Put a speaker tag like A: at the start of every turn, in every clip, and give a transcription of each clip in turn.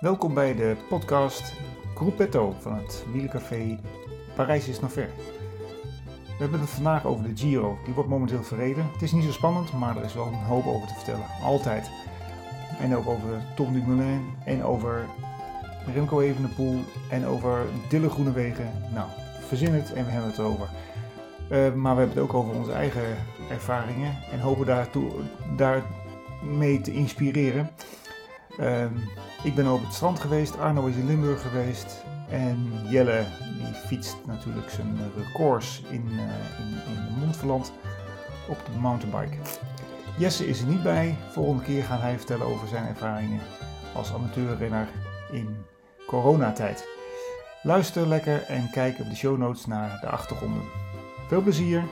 A: Welkom bij de podcast Gruppetto van het wielencafé Parijs is nog ver. We hebben het vandaag over de Giro. Die wordt momenteel verreden. Het is niet zo spannend, maar er is wel een hoop over te vertellen. Altijd. En ook over Tom Dumoulin en over Remco Evenepoel en over Dille Groenewegen. Nou, verzin het en we hebben het erover. Eh, maar we hebben het ook over onze eigen ervaringen en hopen daartoe, daarmee te inspireren. Ehm, ik ben op het strand geweest, Arno is in Limburg geweest en Jelle die fietst natuurlijk zijn eh, records in, eh in, in Montferland op de mountainbike. Jesse is er niet bij, volgende keer gaat hij vertellen over zijn ervaringen als amateurrenner in coronatijd. Luister lekker en kijk op de show notes naar de achtergronden. Veel plezier!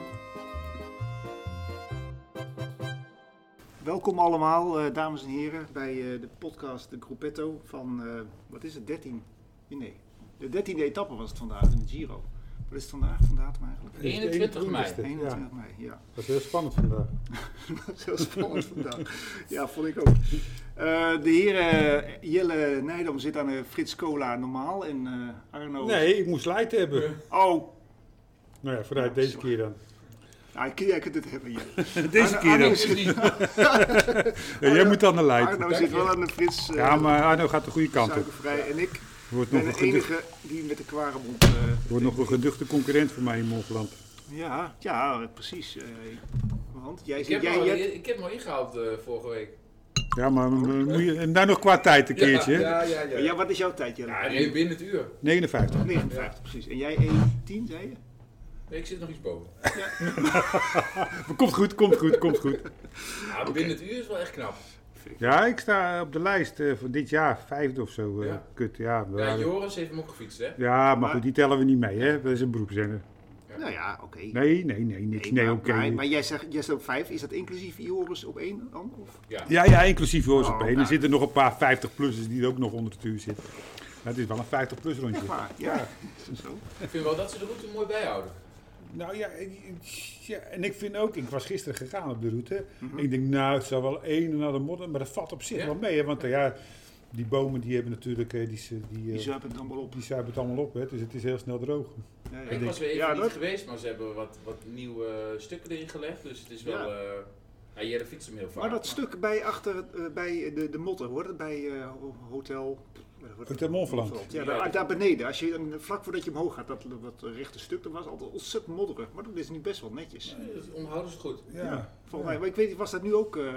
A: Welkom allemaal, eh, dames en heren, bij eh, de podcast De Gruppetto van, eh, wat is het, 13? Nee, de 13e etappe was het vandaag in de Giro. Wat is het vandaag, vandaag eigenlijk?
B: Nee. 21 mei.
A: 21
C: Ja,
A: mei, ja.
C: dat is heel spannend vandaag.
A: Dat is heel spannend vandaag. Ja, vond ik ook. Eh, de heer eh, Jelle Nijdom zit aan de Frits Cola normaal en eh, Arno...
C: Nee, ik moest light hebben.
A: Oh,
C: Nou ja, vooruit deze keer dan.
A: ja, ik- jij kunt het hebben, Jelle.
C: Deze
A: Arno-
C: keer
A: Arno
C: dan.
A: zit-
C: Ja, jij moet aan de light.
A: Arno zit wel aan de Frits eh,
C: Ja, maar Arno gaat de goede kant op.
A: suikervrij en ik
C: Wordt nog
A: ben
C: een,
A: de
C: geduchte,
A: enige die met de kware mond... eh,
C: wordt nog een geduchte concurrent voor mij in Mongoland.
A: Ja, ja, precies. eh, want jij
B: Ik heb,
A: zit... Jij,
B: hem al,
A: jij-
B: ik heb hem al ingehaald eh, vorige week.
C: Ja, maar eh, moet je, en daar nog qua tijd een keertje. hè?
B: Ja, ja, ja. ja.
A: ja, wat is jouw tijd, Jelle?
B: Ja, nee, binnen het uur.
C: 59.
A: 59, precies. En jij 1.10, zei je?
B: Nee, ik zit nog iets boven.
C: Komt goed, komt goed, komt goed.
B: Ja, Binnen het uur is wel echt knap.
C: Ja, ik sta op de lijst eh, van dit jaar, vijfde of zo. eh,
B: Ja.
C: Kut, ja. we
B: Ja,
C: waren-
B: Joris heeft hem ook gefietst, hè?
C: ja, maar
A: Maar-
C: goed, die tellen we niet mee, hè. Dat is een beroepszender.
A: Nou ja, oké.
C: Nee, nee, nee, niks. Nee,
A: maar,
C: oké.
A: maar, maar jij zegt, jij zegt 5, is dat inclusief Ioris op 1 dan? Of?
B: Ja.
C: Ja, ja, inclusief Joris
A: Oh,
C: op één.
A: nou.
C: Er zitten nog een paar 50-plussers die er ook nog onder het uur zitten. Maar het is wel een 50-plus rondje.
A: Echt waar? Ja. Zo.
B: Ik vind wel dat ze de route mooi bijhouden.
C: Nou ja, ja, en ik vind ook, ik was gisteren gegaan op de route. Ik denk, nou, het zou wel één en ander modder, maar dat valt op zich
B: Ja.
C: wel mee. Hè, want eh, ja, die bomen die hebben natuurlijk, eh, die, die, die,
A: Die
C: eh,
A: zuipen het dan wel op.
C: die zuipen het allemaal op. Hè, dus het is heel snel droog.
A: Ja, ja.
B: Ik was weer even
A: Ja,
B: niet
A: dat-
B: geweest, maar ze hebben wat, wat nieuwe stukken erin gelegd. Dus het is wel... eh ja, Jelle fietst hem heel vaak.
A: Maar Oh, dat stuk bij, achter, het, eh, bij de, de motten, hoor, dat bij eh, ho- hotel... wat wordt het?
C: Hotel Montferland.
A: Ja,
B: Ja,
A: daar,
B: dat-
A: daar beneden. Als je, dan- vlak voordat je omhoog gaat, dat wat rechte stuk, dat was altijd ontzettend modderig. Maar dat is nu best wel netjes.
B: Ja, dat Onderhouden eh, ze goed.
C: Ja.
A: Volgens mij, maar ik weet niet, was dat nu ook... eh,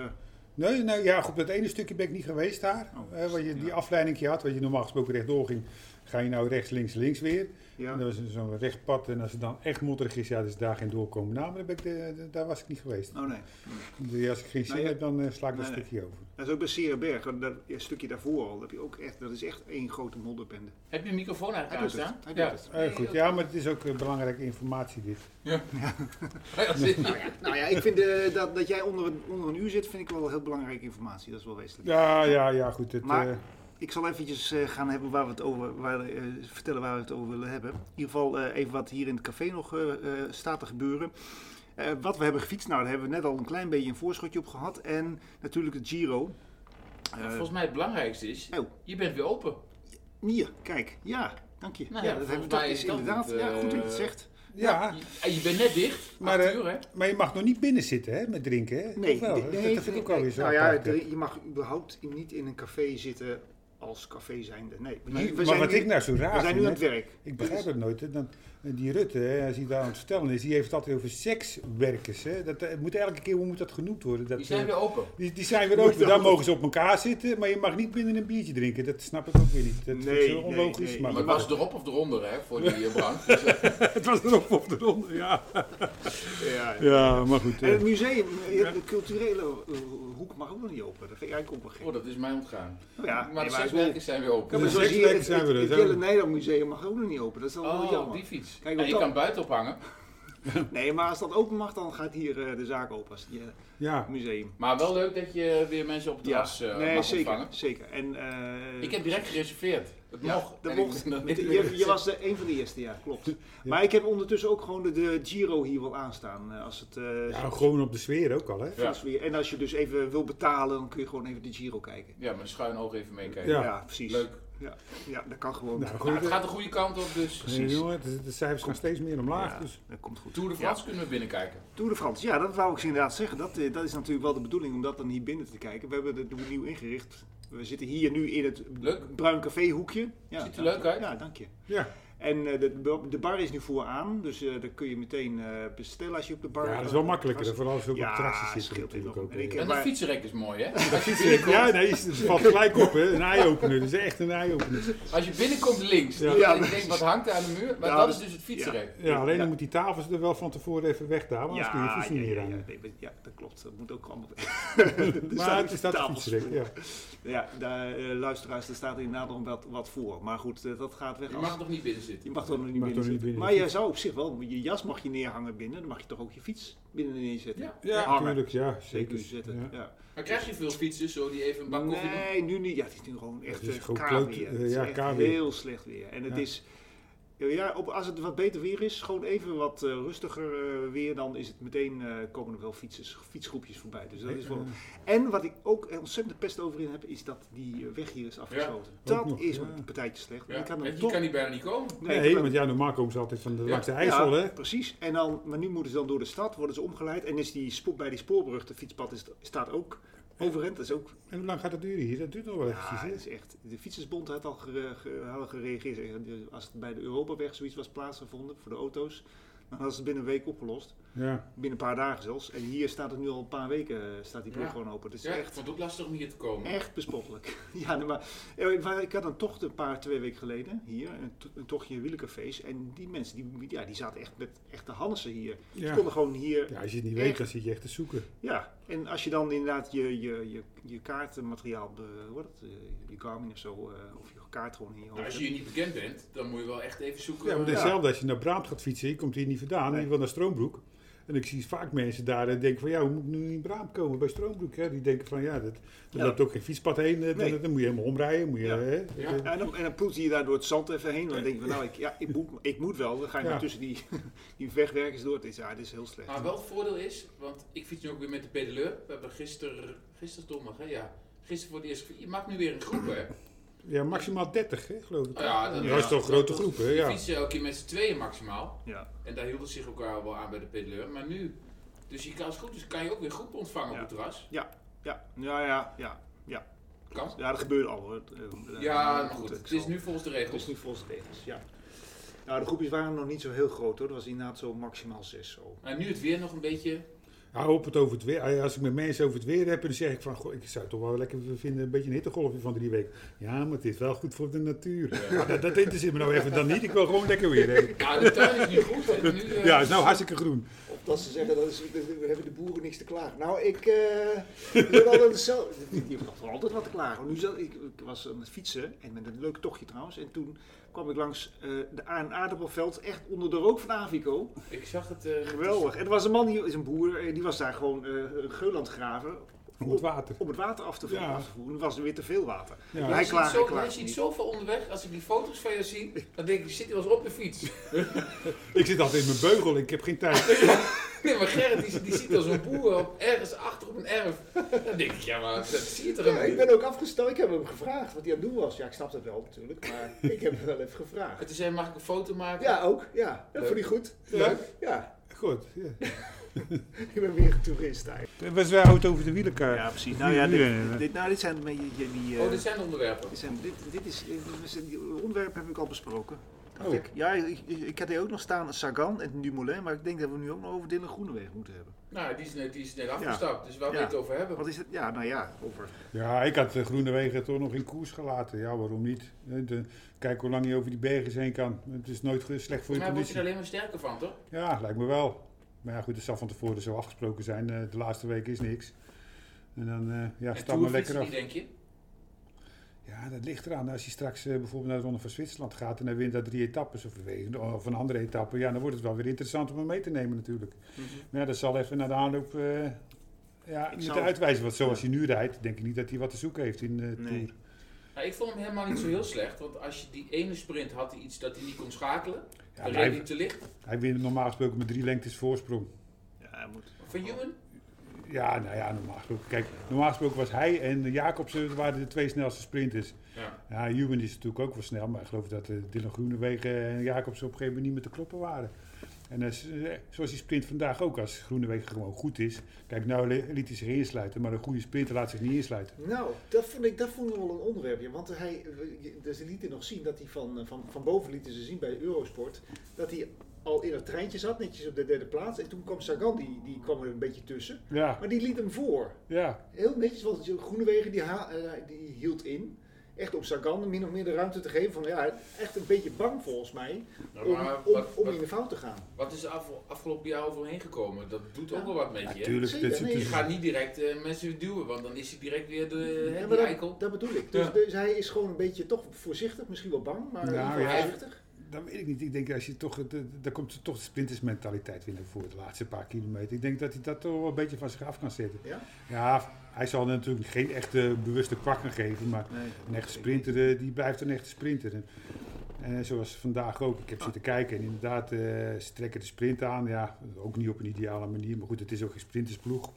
C: Nee, nou ja, op dat ene stukje ben ik niet geweest daar.
A: Oh,
C: hè, waar je die
A: ja.
C: afleiding had, waar je normaal gesproken rechtdoor ging, ga je nou rechts, links, links weer.
A: ja.
C: En dat was zo'n recht pad. En als het dan echt modderig is, ja, dan is daar geen doorkomen. Nou, maar daar, ben ik de- de- daar was ik niet geweest.
A: Oh nee.
C: Dus als ik geen zin
A: Nou, ja.
C: heb, dan eh, sla ik dat
A: Nee, nee.
C: stukje over.
A: Dat is ook bij Serenberg, want dat ja, stukje daarvoor al. Dat, heb je ook echt, dat is echt één grote modderbende.
B: Heb je een microfoon
A: Hij
B: eigenlijk
A: doet
B: aanstaan?
A: het. Hij
B: ja.
A: doet het.
C: Eh, goed, ja, maar het is ook eh, belangrijke informatie dit.
B: Ja, zit-
A: Nou ja, ik vind eh, dat, dat jij onder een, onder een uur zit, vind ik wel heel belangrijke informatie. Dat is wel wezenlijk.
C: Ja, ja, ja, goed. Het,
A: Maar-
C: eh,
A: Ik zal eventjes eh, gaan hebben waar we het over, waar, eh, vertellen waar we het over willen hebben. In ieder geval eh, even wat hier in het café nog eh, eh, staat te gebeuren. Eh, wat we hebben gefietst, nou daar hebben we net al een klein beetje een voorschotje op gehad. En natuurlijk de Giro.
B: Ja,
A: Eh
B: Volgens mij het belangrijkste is,
A: Oh.
B: je bent weer open.
A: Nier, kijk, ja, dank je.
B: Nou
A: ja,
B: ja,
A: dat
B: volgens
A: hebben we toch
B: mij
A: is
B: is dat
A: inderdaad.
B: het,
A: ja, goed dat je het
B: eh,
A: zegt.
C: ja,
B: Je, eh, je bent net dicht,
C: Ah. Maar,
B: maar,
C: eh,
B: uur hè?
C: maar je mag nog niet binnen zitten hè, met drinken. Hè?
A: Nee,
C: Of wel?
A: dit-
C: Dat-
A: nee,
C: dat vind ik ook
A: nee.
C: alweer zo.
A: Nou ja,
C: apart, hè.
A: er- je mag überhaupt niet in een café zitten als café zijnde. Nee,
C: Maar-
A: nu- we,
C: maar
A: zijn
C: wat
A: nu,
C: ik nou zo
A: we
C: raar
A: zijn
C: vind,
A: nu
C: hè,
A: aan het werk.
C: ik begrijp het nooit. hè, Dan, eh, die Rutte, hè, als hij daar aan het vertellen is, die heeft het altijd over sekswerkers. Hè. Dat, eh, moet elke keer hoe moet dat genoemd worden? Dat,
B: Die zijn
C: eh,
B: weer open.
C: Die, die zijn weer open, daar mogen ze op elkaar zitten, maar je mag niet binnen een biertje drinken. Dat snap ik ook weer niet. Dat
A: Nee,
C: is zo
A: nee,
C: onlogisch.
A: nee.
C: Maar
B: Maar het
C: goed.
B: was erop of eronder, hè, voor die eh, brand. Dus, eh,
C: het was erop op de ronde, ja.
A: Ja.
C: Ja, maar goed.
A: En
C: eh,
A: het museum, eh, de culturele eh, hoek mag ook nog niet open. Dat vind ik eigenlijk ook wel
B: oh,
A: gek.
B: dat is mij ontgaan.
A: Nou ja, nee,
B: Oh, Maar de
A: maar ik
B: sekswerkers zijn weer Dus-
A: bedoel-
B: open.
A: Ja, maar
C: De
A: zoals hier,
C: sekswerkers
A: het,
C: zijn
A: het,
C: we
A: het
C: er,
A: hele
C: zo.
A: Nederland Museum mag ook nog niet open. Dat is dan wel
B: Oh,
A: jammer.
B: die fiets.
A: Kijk,
B: en je
A: dat-
B: kan buiten ophangen.
A: Nee, maar als dat open mag, dan gaat hier eh, de zaak open. Als, je
C: Ja,
A: museum.
B: Maar wel leuk dat je weer mensen op het terras eh,
A: nee,
B: mag
A: zeker.
B: ontvangen.
A: zeker. En, eh,
B: Ik heb direct gereserveerd. Het
A: Ja,
B: mocht.
A: dat
B: En ik-
A: mocht.
B: dat-
A: Je, je was de, een van de eerste, ja, klopt. Maar ik heb ondertussen ook gewoon de, de Giro hier wel aanstaan. eh, Als het, eh,
C: Ja, gewoon op de sfeer ook al, hè?
A: zo- als we- En als je dus even wil betalen, dan kun je gewoon even de Giro kijken.
B: Ja, maar schuin oog even meekijken.
C: Ja.
A: precies.
B: Leuk.
A: Ja, dat kan gewoon.
C: Nou,
B: Nou,
C: goed.
B: het
C: eh,
B: gaat de goede kant op, dus
C: nee, jongen, de, de cijfers gaan steeds meer omlaag.
A: Ja,
C: Dus.
A: dat komt goed.
B: Tour de France kunnen we binnenkijken.
A: Tour de France, ja, dat wou ik ze inderdaad zeggen. Dat, eh, dat is natuurlijk wel de bedoeling om dat dan hier binnen te kijken. We hebben het nieuw ingericht. We zitten hier nu in het
B: Leuk.
A: bruin café hoekje. Ja,
B: Ziet er
A: dank
B: leuk
A: je.
B: uit.
A: Ja, dank je.
C: Ja.
A: En eh, de, de bar is nu vooraan, dus eh daar kun je meteen eh, bestellen als je op de bar... eh,
C: ja, dat is wel makkelijker, hè,
A: Ja,
C: vooral als je op het terrasje zit
A: scheelt
C: natuurlijk
A: enorm.
C: ook.
A: En ik
C: hè.
A: heb
B: En dat
A: maar-
B: fietsenrek is mooi, hè? Als je binnenkomt,
C: Ja, nee, het valt gelijk op, hè? Een eye-opener. Dat is echt een eye-opener.
B: als je binnenkomt links,
C: Ja.
B: dan
A: Ja,
B: denk ik, wat hangt er aan de muur? Maar
A: Ja,
B: dat
A: dus-
B: is dus het fietsenrek.
C: Ja, alleen
A: Ja.
C: dan moet die tafels er wel van tevoren even weg daar, want anders kun je je fiets niet meer
A: ja,
C: aan.
A: ja, nee, maar- ja, dat klopt. Dat moet ook allemaal.
C: Maar het is dat
A: tafels
C: fietsrek, ja.
A: voor. Ja, daar, eh, luisteraars, er staat inderdaad nog wat, wat voor. Maar goed, eh, dat gaat weg.
B: Je
A: als-
B: mag toch niet binnen zitten?
A: je mag toch nog niet
C: mag
A: binnen
C: toch niet
A: zitten.
C: binnen
A: Maar je zou op zich wel, je jas mag je neerhangen binnen. Dan mag je toch ook je fiets binnen neerzetten.
B: Ja.
C: Ja,
A: hangen.
C: natuurlijk, ja,
A: Zeker
C: zeker.
A: zetten.
C: Ja.
A: Ja.
B: Maar krijg je veel fietsers zo die even een bak koffie doen?
A: Nee, nu niet. Ja, het is nu gewoon echt
C: Het is
A: eh,
C: gewoon
A: kaal
C: kloot,
A: weer.
C: eh,
A: Het is
C: ja,
A: echt
C: kaal weer.
A: heel slecht weer. En het
C: Ja.
A: is, ja, op, als het wat beter weer is, gewoon even wat eh, rustiger eh, weer, dan is het meteen, eh, komen er wel fietsers, fietsgroepjes voorbij. Dus dat is wel...
C: eh.
A: En wat ik ook ontzettend pest over in heb, is dat die eh, weg hier is afgesloten.
C: ook
A: dat
C: nog,
A: is
C: ja.
A: een partijtje slecht.
B: Ja.
A: Je kan
B: want
A: er
B: je
A: toch...
B: kan niet bijna niet komen.
A: Nee,
C: Nee,
A: kan-
C: want ja, normaal komen ze altijd van de,
B: Ja.
C: langs de IJssel,
A: ja,
C: hè?
A: precies. En dan, maar nu moeten ze dan door de stad, worden ze omgeleid. En is die, spo- bij die spoorbrug, de fietspad is, staat ook overend. Dat is ook
C: En hoe lang gaat dat duren hier? Dat duurt nog wel eventjes,
A: ja,
C: hè?
A: dat is echt. De Fietsersbond had al gere- ge- hadden gereageerd. Zeggen, de- Als het bij de Europaweg zoiets was plaatsgevonden voor de auto's, dan hadden ze het binnen een week opgelost.
C: Ja.
A: Binnen een paar dagen zelfs. En hier staat het nu al een paar weken, eh, staat die brug
B: Ja.
A: gewoon open. Het is
B: Ja, ik
A: echt,
B: vond het ook lastig om hier te komen.
A: echt bespottelijk. ja, nee, maar, eh, maar ik had een tocht een paar, twee weken geleden hier. Een, to- een tochtje in Wielercafés. En die mensen, die, ja, die zaten echt met echte Hannessen hier. Die
C: Ja.
A: konden gewoon hier
C: ja, als je het niet
A: Echt.
C: weet, dan zit je echt te zoeken.
A: ja, en als je dan inderdaad je, je, je, je kaartenmateriaal, be- hoe heet dat, eh, je Garmin of zo, eh, of je kaart gewoon in je
B: Nou,
A: hoofd
B: als je hier niet bekend bent, dan moet je wel echt even zoeken. eh,
C: Ja, maar
A: dus-
B: Ja.
C: hetzelfde als je naar Braamt gaat fietsen, je komt hier niet vandaan,
A: Nee.
C: je wil naar Stroombroek. En ik zie vaak mensen daar en denk van, ja, hoe moet ik nu in Braamt komen bij Stroombroek? Hè? Die denken van, ja, dat, er
A: Ja.
C: loopt ook geen fietspad heen, eh, dan,
A: Nee.
C: dan moet je helemaal omrijden. Moet je,
A: Ja.
C: hè?
B: Ja.
A: hebt. Ja, en dan, en dan ploet je daar door het zand even heen. Dan denk je van, nou, ik, ja, ik, moet, ik moet wel. Dan ga je
C: Ja.
A: maar tussen die, die wegwerkers door. Het is, ja, dit is heel slecht.
B: Maar wel het voordeel is, want ik fiets nu ook weer met de pedeleur. We hebben gisteren, gisteren donderdag, hè? Ja. Gisteren voor het eerst. gefietst. Je mag nu weer een groep, hè?
C: Ja, maximaal 30, hè, geloof ik.
B: Ja,
C: dat,
B: dat-
C: is toch een grote groep, hè?
B: Je
C: Ja.
B: fietsen elke keer met z'n tweeën maximaal.
A: Ja,
B: En daar hielden ze zich elkaar wel aan bij de pedeleur. Maar nu, dus je kan, als het goed is, kan je ook weer groepen ontvangen op
A: Ja.
B: het terras.
A: ja, ja, ja, ja.
B: Kan.
A: Ja, dat gebeurt al hoor. Eh, eh,
B: Ja, maar goed.
A: ik
B: Het
A: zal-
B: is nu volgens de
A: Het is
B: regels.
A: niet volgens de regels, ja. Nou, de groepjes waren nog niet zo heel groot hoor. Dat was inderdaad zo maximaal zes zo.
B: En nu het weer nog een beetje.
C: Ja, op het over het weer. Als ik met mensen over het weer heb, dan zeg ik van, goh, ik zou het toch wel lekker vinden, een beetje een hittegolfje van drie weken. Ja, maar het is wel goed voor de natuur. Ja, dat, dat interesseert me nou even dan niet. Ik wil gewoon lekker weer hebben.
B: Ja, de tuin is nu goed. En nu, eh,
C: Ja, het is nou hartstikke groen.
A: Of dat ze zeggen, dat is, dat- we hebben de boeren niks te klagen. Nou, ik eh, ik wil altijd zo. Die hebben nog wel altijd wat te klagen. Nu zat, ik, ik was aan het fietsen, en met een leuk tochtje trouwens. En toen kwam ik langs eh, de A- een aardappelveld, echt onder de rook van Avico.
B: ik zag het. eh,
A: Geweldig. En er was een man, die is een boer, eh, die was daar gewoon eh een geul aan het graven.
C: Om het water.
A: Om het water af te voeren.
C: Ja.
A: af te voeren. Er was er weer te veel water.
C: Ja.
A: Hij
B: Hij, ziet,
A: klaagt,
B: zo,
A: hij
B: hij
A: klaagt
B: ziet
A: niet.
B: zoveel onderweg. Als ik die foto's van je zie, dan denk ik, zit hij wel eens op de fiets?
C: Ik zit altijd in mijn beugel, ik heb geen tijd.
B: Nee, maar Gerrit, die, die ziet als een boer op, ergens achter op een erf. Dan denk ik, ja, maar dat zie je toch
A: Ja,
B: helemaal
A: ik
B: niet?
A: ben ook afgesteld. Ik heb hem gevraagd wat hij aan het doen was. Ja, ik snap dat wel natuurlijk, maar ik heb hem wel even gevraagd.
B: En Toen zei hij, mag ik een foto maken?
A: Ja, ook. Ja, dat vond hij goed.
C: Ja.
A: Ja,
C: Goed. Ja.
A: Ik ben weer een toerist eigenlijk.
C: Was wij houden over de wielenkaart.
A: Ja, precies. Nou ja, dit, dit, nou, dit zijn een beetje die... die eh,
B: Oh, dit zijn de onderwerpen.
A: dit, zijn, dit, dit is... dit is- Die onderwerp heb ik al besproken. dacht
C: Oh.
A: ik. Ja, ik, ik, ik had hier ook nog staan Sagan en Dumoulin, maar ik denk dat we nu ook nog over Dylan Groeneweg moeten hebben.
B: Nou, die is net, die is net afgestapt, dus waar we
A: Ja.
B: het over hebben.
A: Wat is het? Ja, nou ja, over...
C: Ja, ik had eh, Groenewegen toch nog in koers gelaten. Ja, waarom niet? Eh, de- Kijk hoe lang je over die bergen heen kan. Het is nooit ge- slecht voor
B: Volgens
C: je
B: mij word je
C: conditie.
B: er alleen maar sterker van, toch?
C: Ja, lijkt me wel. Maar ja, goed, het zal van tevoren zo afgesproken zijn. Eh, De laatste week is niks. En dan, eh, ja,
B: En
C: stap maar
B: toerfietsen
C: lekker af.
B: die, denk je?
C: Ja, dat ligt eraan. Als je straks eh, bijvoorbeeld naar de Ronde van Zwitserland gaat en hij wint daar drie etappes of, een- of een andere etappe, ja, dan wordt het wel weer interessant om hem mee te nemen natuurlijk. Maar ja, dat zal even naar de aanloop eh, ja,
A: Mhm. Ik
C: moeten
A: zou-
C: uitwijzen. Want zoals hij nu rijdt, denk ik niet dat hij wat te zoeken heeft in de
A: Nee.
C: Tour.
B: Nou, ik vond hem helemaal niet zo heel slecht, want als je die ene sprint had hij iets dat hij niet kon schakelen.
C: Ja,
B: dan
C: maar
B: reed
C: hij,
B: hij te licht.
C: hij wint normaal gesproken met drie lengtes voorsprong.
A: Ja, hij moet.
B: Van Juwen?
C: Ja, nou ja, normaal gesproken. Kijk, normaal gesproken was hij en Jacobsen waren de twee snelste sprinters.
B: Ja.
C: Ja, Human is natuurlijk ook wel snel, maar ik geloof dat eh, Dylan Groenewegen en Jacobsen op een gegeven moment niet meer te kloppen waren. En eh, s- eh, zoals die sprint vandaag ook, als Groenewegen gewoon goed is. Kijk, nou li- liet hij zich insluiten, maar een goede sprinter laat zich niet insluiten.
A: Nou, dat vond ik, dat vond ik wel een onderwerpje. Want hij, dus ze lieten nog zien dat hij van, eh, van, van boven lieten ze zien bij Eurosport. Dat hij al in dat treintje zat, netjes op de derde plaats. En toen kwam Sagan, die, die kwam er een beetje tussen.
C: Ja,
A: Maar die liet hem voor.
C: ja.
A: Heel netjes, want Groenewegen die, ha- eh, die hield in. Echt om Sagan min of meer de ruimte te geven. Van, ja, echt een beetje bang volgens mij
B: Nou,
A: om,
B: maar
A: om,
B: wat,
A: om
B: wat,
A: in de fout te gaan.
B: wat is er af, afgelopen jaar over hem heen gekomen? Dat doet
A: Ja.
B: ook wel wat met je. hè?
C: Natuurlijk,
A: Zeker,
C: dit is-
A: nee.
C: dit
B: Je
C: is-
B: gaat niet direct eh, mensen duwen, want dan is hij direct weer de, hè,
A: Ja,
B: Eh, die
A: maar
B: eikel.
A: dat, dat bedoel ik. Dus,
B: Ja.
A: dus hij is gewoon een beetje toch voorzichtig, misschien wel bang, maar
C: Nou,
A: in ieder geval
C: ja.
A: voorzichtig.
C: dat weet ik niet. Ik denk, als je toch, het, eh, daar komt toch de sprintersmentaliteit weer naar voren de laatste paar kilometer. Ik denk dat hij dat toch wel een beetje van zich af kan zetten.
A: Ja?
C: Ja, hij zal natuurlijk geen echte bewuste kwakken geven, maar
A: Nee.
C: Een echte sprinter, eh, die blijft een echte sprinter. En, en zoals vandaag ook, ik heb zitten kijken en inderdaad, eh, ze trekken de sprint aan. Ja, ook niet op een ideale manier, maar goed, het is ook een sprintersploeg.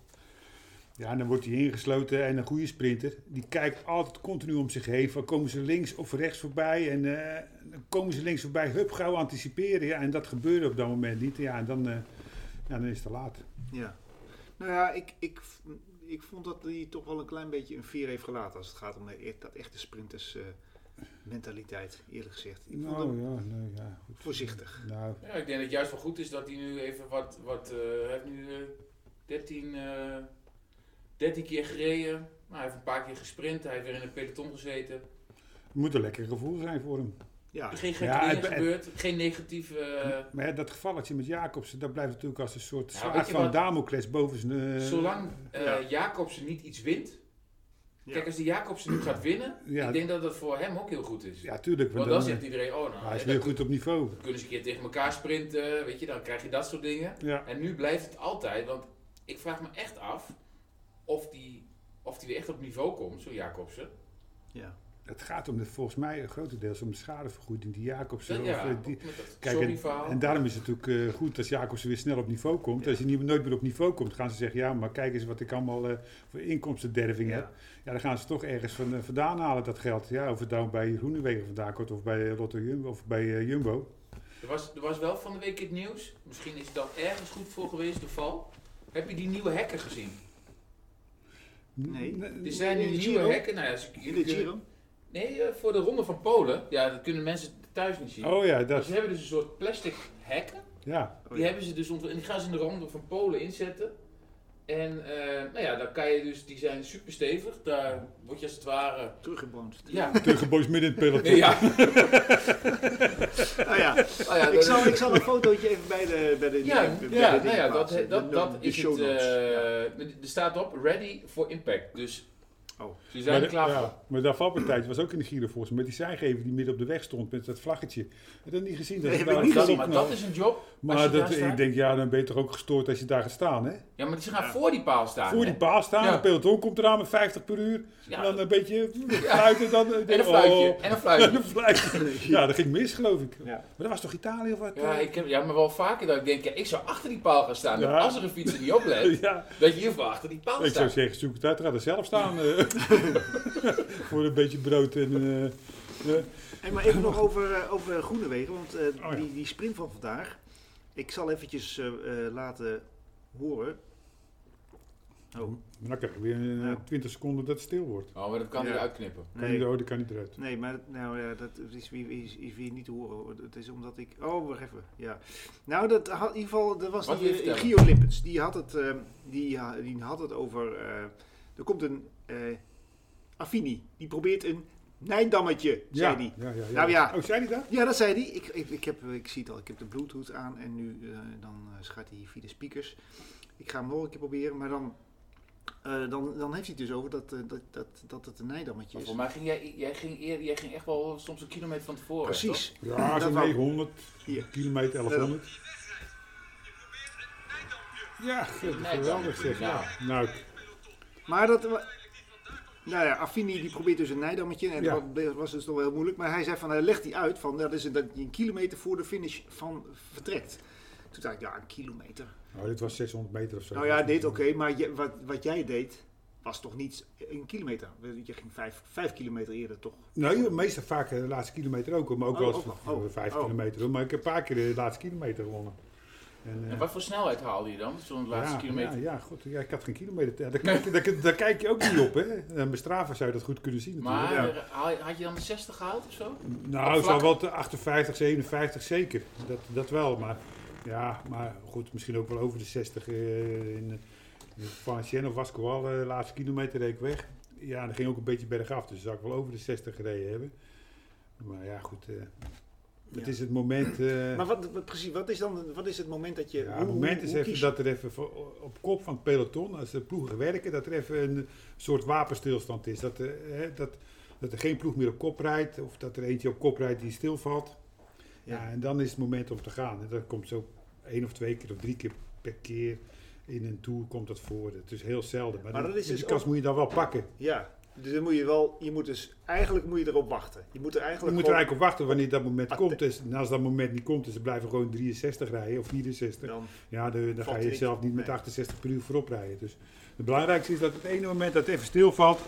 C: Ja, en dan wordt hij ingesloten en een goede sprinter, die kijkt altijd continu om zich heen. Van komen ze links of rechts voorbij? En eh, dan komen ze links voorbij, hup, gauw anticiperen. Ja, en dat gebeurde op dat moment niet. Ja, en dan, eh, ja, dan is het te laat.
A: Ja. Nou ja, ik, ik, ik vond dat hij toch wel een klein beetje een vier heeft gelaten als het gaat om de, e-, dat echte sprinters eh, mentaliteit, eerlijk gezegd. Ik vond
C: Nou
A: hem
C: ja, nee, ja, goed.
A: voorzichtig.
C: Nou,
B: Ja, ik denk dat het juist wel goed is dat hij nu even wat. wat eh, hij heeft nu eh, 13, eh, 13 keer gereden. Nou, hij heeft een paar keer gesprint. Hij heeft weer in een peloton gezeten.
C: het moet een lekker gevoel zijn voor hem.
A: Ja,
B: Geen gekke
C: Ja,
B: dingen
C: het- het-
B: gebeurd. Geen negatieve. eh,
C: Maar ja, dat gevalletje met Jacobsen, dat blijft natuurlijk als een soort
B: Ja,
C: zwaard
B: Nou, weet je
C: van
B: wat?
C: Damocles boven zijn... eh,
B: zolang eh,
A: ja.
B: Jacobsen niet iets wint.
A: Ja.
B: Kijk, als die Jacobsen nu gaat winnen.
C: Ja.
B: ik denk dat dat voor hem ook heel goed is.
C: Ja, tuurlijk.
B: Want
C: Want
B: dan
C: dan,
B: zegt iedereen: oh, nou,
C: eh, hij is
B: hè,
C: weer
B: dan
C: goed op niveau.
B: kunnen ze een keer tegen elkaar sprinten. Weet je, dan krijg je dat soort dingen.
C: Ja,
B: En nu blijft het altijd, want ik vraag me echt af of die, of die weer echt op niveau komt, zo Jacobsen.
A: ja.
C: het gaat om de, volgens mij grotendeels om de schadevergoeding die Jacobsen...
B: Dat,
C: of,
B: ja,
C: eh, die,
B: met dat
C: kijk, en,
B: sorry-verhaal.
C: en daarom is het natuurlijk eh, goed als Jacobsen weer snel op niveau komt.
A: Ja.
C: Als hij niet, nooit meer op niveau komt, gaan ze zeggen... Ja, maar kijk eens wat ik allemaal eh, voor inkomstenderving
A: Ja.
C: heb. Ja, dan gaan ze toch ergens van, eh, vandaan halen, dat geld. Ja, of het nou bij Groenewegen vandaan komt of bij eh, Lotto Jumbo... Of bij eh, Jumbo.
B: er, was, er was wel van de week in het nieuws, misschien is dat ergens goed voor geweest, de val. Heb je die nieuwe hekken gezien?
A: Nee.
B: Er zijn nu
A: In de
B: nieuwe
A: Giro?
B: hekken. Nou, ja, als ik-
A: In de Giro? Oh
B: Nee, eh, voor de Ronde van Polen. Ja, dat kunnen mensen thuis niet zien.
C: Oh ja,
B: Maar
C: dat...
B: Ze hebben dus een soort plastic hekken.
C: Ja,
A: Oh,
B: Die
A: ja.
B: hebben ze dus ontwikkeld. En die gaan ze in de randen van Polen inzetten. En eh, nou ja, dan kan je dus, die zijn super stevig. Daar word je als het ware.
A: Teruggebounced.
B: Ja,
C: tegenboos midden in het peloton.
B: nee, ja.
A: Nou ja,
B: Nou ja,
A: ik,
B: dat-
A: zal, ik zal een fotootje even bij de bij de
B: ja,
A: bij de
B: ja,
A: ding
B: nou ja, dat,
A: plaatsen.
B: dat,
A: De-
B: dat
A: de
B: is
A: show
B: het.
A: notes. Ja.
B: eh, Er staat op ready for impact. Dus
A: Oh.
B: ze zijn er
C: maar,
B: klaar
C: de-
B: voor.
C: ja, maar dat valpartijtje was ook in de Giro volgens mij. Met die zijgever die midden op de weg stond met dat vlaggetje. Ik heb dat niet gezien. Dat
A: Nee,
C: is
A: heb ik
C: wel-
A: niet
B: Dat-
A: gezien,
B: maar
C: nou-
B: dat is een job.
C: maar
B: als je
C: dat,
B: daar staat.
C: ik denk, ja, dan ben je toch ook gestoord als je daar gaat staan, hè?
B: Ja, maar ze gaan
A: Ja.
B: voor die paal staan.
C: Voor
B: hè?
C: die paal staan,
B: Ja.
C: een peloton komt eraan met 50 per uur.
B: Ja.
C: En dan een beetje fluiten. Dan,
B: En een fluitje.
C: oh.
B: En een
C: En
B: fluitje.
C: een fluitje. Ja, dat ging mis, geloof ik.
A: Ja.
C: Maar dat was toch Italië of wat?
B: Ja, ik heb, ja, maar wel vaker dat ik denk, ja, ik zou achter die paal gaan staan. Dat
C: Ja.
B: als er een fietser niet oplet,
C: Ja.
B: dat je hiervoor achter die paal
C: Ik zou
B: staat.
C: zeggen, zoek het uit, ga er zelf staan. eh. voor een beetje brood en... eh, eh.
A: Hey, maar even nog over, eh, over Groenewegen, want eh,
C: Oh ja.
A: die, die sprint van vandaag. Ik zal eventjes eh, eh, laten horen. Oh,
C: Maar Nou, dan krijg je weer eh,
A: Ja.
C: 20 seconden dat het stil wordt.
B: Oh, maar dat kan
A: Ja.
B: hij uitknippen.
C: Kan
A: nee,
C: niet, oh, dat kan niet eruit.
A: nee maar dat- nou, ja, dat is weer, is, is weer niet te horen. hoor. Het is omdat ik. Oh, wacht even. Ja. Nou, dat had, in ieder geval, dat was
B: Wat
A: die,
B: wil je
A: eh,
B: vertellen?
A: Gio Lippens. Die had het, eh, die, ha- die had het over. eh, er komt een eh Affini. Die probeert een Nijdammetje, zei hij.
C: Ja, ja, ja.
A: Nou ja.
C: Oh, zei hij dat?
A: Ja, dat zei hij. Ik, ik, ik, heb, ik zie het al, ik heb de Bluetooth aan en nu eh, dan eh, schaart hij via de speakers. Ik ga hem nog een keer proberen, maar dan eh, dan, dan heeft hij het dus over dat, eh, dat, dat, dat het een nijdammetje
B: Maar
A: is.
B: voor mij ging jij, jij, ging eer, jij ging echt wel soms een kilometer van tevoren. toch?
A: Precies.
C: Ja,
A: Dat
C: zo'n
A: wou-
C: 900
A: Hier.
C: kilometer, 1100. Ja, geweldig zeg. Ja. Nou, ik-
A: Maar dat. wa- Nou ja, Affini die probeert dus een nijdammetje. En
C: Ja.
A: dat was dus toch wel heel moeilijk. Maar hij zei van, hij legt die uit van, dat is een, dat je een kilometer voor de finish van vertrekt. Toen dacht ik, ja, een kilometer.
C: nou, dit was 600 meter of zo.
A: Nou ja, dit oké, maar je- wat, wat jij deed was toch niet een kilometer. Je ging vijf, vijf kilometer eerder toch.
C: Nee, meestal vaak eh, de laatste kilometer ook, hoor, maar ook
A: Oh,
C: wel eens
A: ook
C: van-
A: wel.
C: van vijf
A: Oh.
C: kilometer. hoor. Maar ik heb een paar keer eh, de laatste kilometer gewonnen. En, eh,
B: En wat voor snelheid haalde je dan? Zo'n laatste
C: ja,
B: kilometer.
C: Ja, ja, goed, ja, ik had geen kilometer. Ja, daar, kijk, je- daar, daar kijk je ook niet op, hè. En bij Strava zou je dat goed kunnen zien natuurlijk.
B: Maar
A: Ja.
B: eh, haal- had je dan de 60 gehaald of zo?
C: Nou,
B: Op
C: zo
B: vlak?
C: wat eh, 58, 57 zeker. Dat, dat wel, maar ja, maar goed, misschien ook wel over de 60 eh, in, in Valenciennes of Vascoal, de laatste kilometer reed ik weg. Ja, dat ging ook een beetje bergaf, dus zou ik wel over de 60 gereden hebben. Maar ja, goed, eh het
A: Ja.
C: is het moment. eh,
A: Maar wat, wat- precies, wat is dan wat is het moment dat je.
C: ja,
A: hoe-
C: het moment
A: hoe-
C: is
A: hoe
C: even
A: kies je?
C: dat er even voor- op kop van het peloton, als de ploegen werken, dat er even een soort wapenstilstand is. Dat, er, hè, dat, dat er geen ploeg meer op kop rijdt, of dat er eentje op kop rijdt die stilvalt. Ja.
A: Ja.
C: en dan is het moment om te gaan. En dat komt zo één of twee keer of drie keer per keer in een tour komt dat voor. Het is heel zelden. Maar,
A: Maar
C: die-
A: dat is
C: die
A: dus
C: kans
A: ook-
C: moet je dan wel pakken.
A: Ja, dus dan moet je wel. Je moet dus, eigenlijk moet je erop wachten. Je moet er
C: Je
A: eigenlijk.
C: moet er
A: gewoon-
C: eigenlijk op wachten wanneer dat moment
A: Atte-
C: komt. is. En als dat moment niet komt, dus ze blijven gewoon 63 rijden of 64.
A: dan,
C: Ja, de- dan
A: Valt
C: ga
A: er
C: je
A: niet-
C: zelf niet met
A: nee.
C: 68 per uur voorop rijden. Dus het belangrijkste is dat het ene moment dat het even stilvalt,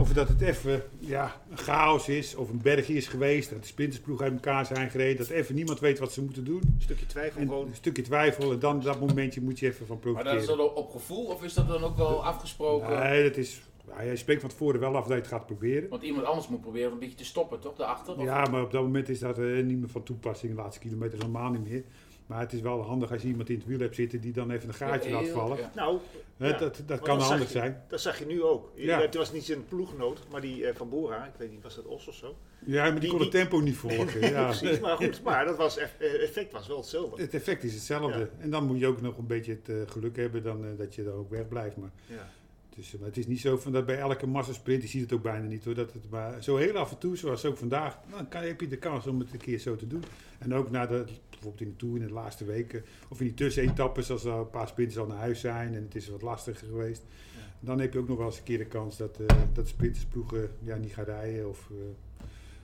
C: of dat het even ja, een chaos is, of een bergje is geweest, dat de sprintersploeg uit elkaar zijn gereden, dat even niemand weet wat ze moeten doen.
A: een stukje twijfel
C: En
A: gewoon.
C: een stukje twijfel en dan dat momentje moet je even van
B: Maar dat is
C: profiteren.
B: dat dan op gevoel of is dat dan ook eh, wel afgesproken?
C: Nee, dat is, ja, je spreekt van tevoren wel af dat je het gaat proberen.
B: Want iemand anders moet proberen een beetje te stoppen, toch? Daarachter? Of-
C: Ja, maar op dat moment is dat eh, niet meer van toepassing, de laatste kilometers helemaal niet meer. Maar het is wel handig als je iemand in het wiel hebt zitten die dan even een gaatje laat
B: Heel-
C: vallen.
B: ja.
A: Nou,
C: Hè,
A: ja.
C: Dat, dat
A: Want
C: kan
A: dan zag
C: handig
A: je-
C: zijn.
A: Dat zag je nu ook. Je-
C: Ja.
A: Het was niet zijn ploegnoot, maar die eh, van Bora, ik weet niet, was dat Os of zo?
C: Ja, maar die,
A: Die-
C: kon het
A: die-
C: tempo niet volgen. ja.
A: Precies, maar goed, maar dat was, eff- eh, effect was wel hetzelfde.
C: Het effect is hetzelfde.
A: Ja.
C: En dan moet je ook nog een beetje het eh, geluk hebben dan, eh, dat je er ook weg blijft. Maar
A: Ja.
C: het, is, maar het is niet zo van dat bij elke massasprint, je ziet het ook bijna niet hoor, dat het maar zo heel af en toe, zoals ook vandaag, dan kan, heb je de kans om het een keer zo te doen. En ook na de, bijvoorbeeld in de Tour in de laatste weken, of in die tussenetappes, als er een paar sprinters al naar huis zijn en het is wat lastiger geweest,
A: Ja.
C: dan heb je ook nog wel eens een keer de kans dat, eh dat sprintersploegen ja, niet gaan rijden of eh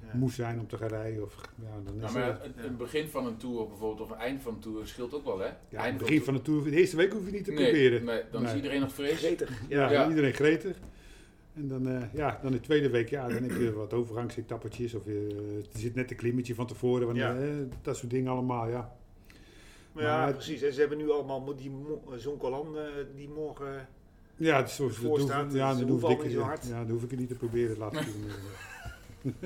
A: Ja.
C: moe zijn om te gaan rijden. Of, ja, dan is
B: Nou,
C: het-
B: maar het, het begin van een tour bijvoorbeeld of een eind van een tour scheelt ook wel, hè?
C: Ja, aan het begin van de tour, de eerste week hoef je niet te
B: nee,
C: proberen.
B: nee, dan is
C: Nee.
B: iedereen nog fris.
A: Gretig.
C: Ja,
B: Ja.
C: iedereen gretig. En dan, eh, ja, dan de tweede week, ja, dan heb je wat overgangsetappetjes. Of je, er zit net een klimmetje van tevoren. Wanneer,
A: Ja.
C: eh, dat soort dingen allemaal, ja.
A: Maar ja,
C: Maar-
A: precies. En ze hebben nu allemaal mo- die mo- eh, Zonkolan eh, die morgen.
C: Ja, dus, dat
A: Voor
C: hoef-
A: staat,
C: ja,
A: dus hoeft
C: dan hoef ik,
A: allemaal niet zo hard.
C: ja, dan hoef ik het niet te proberen. Laat ik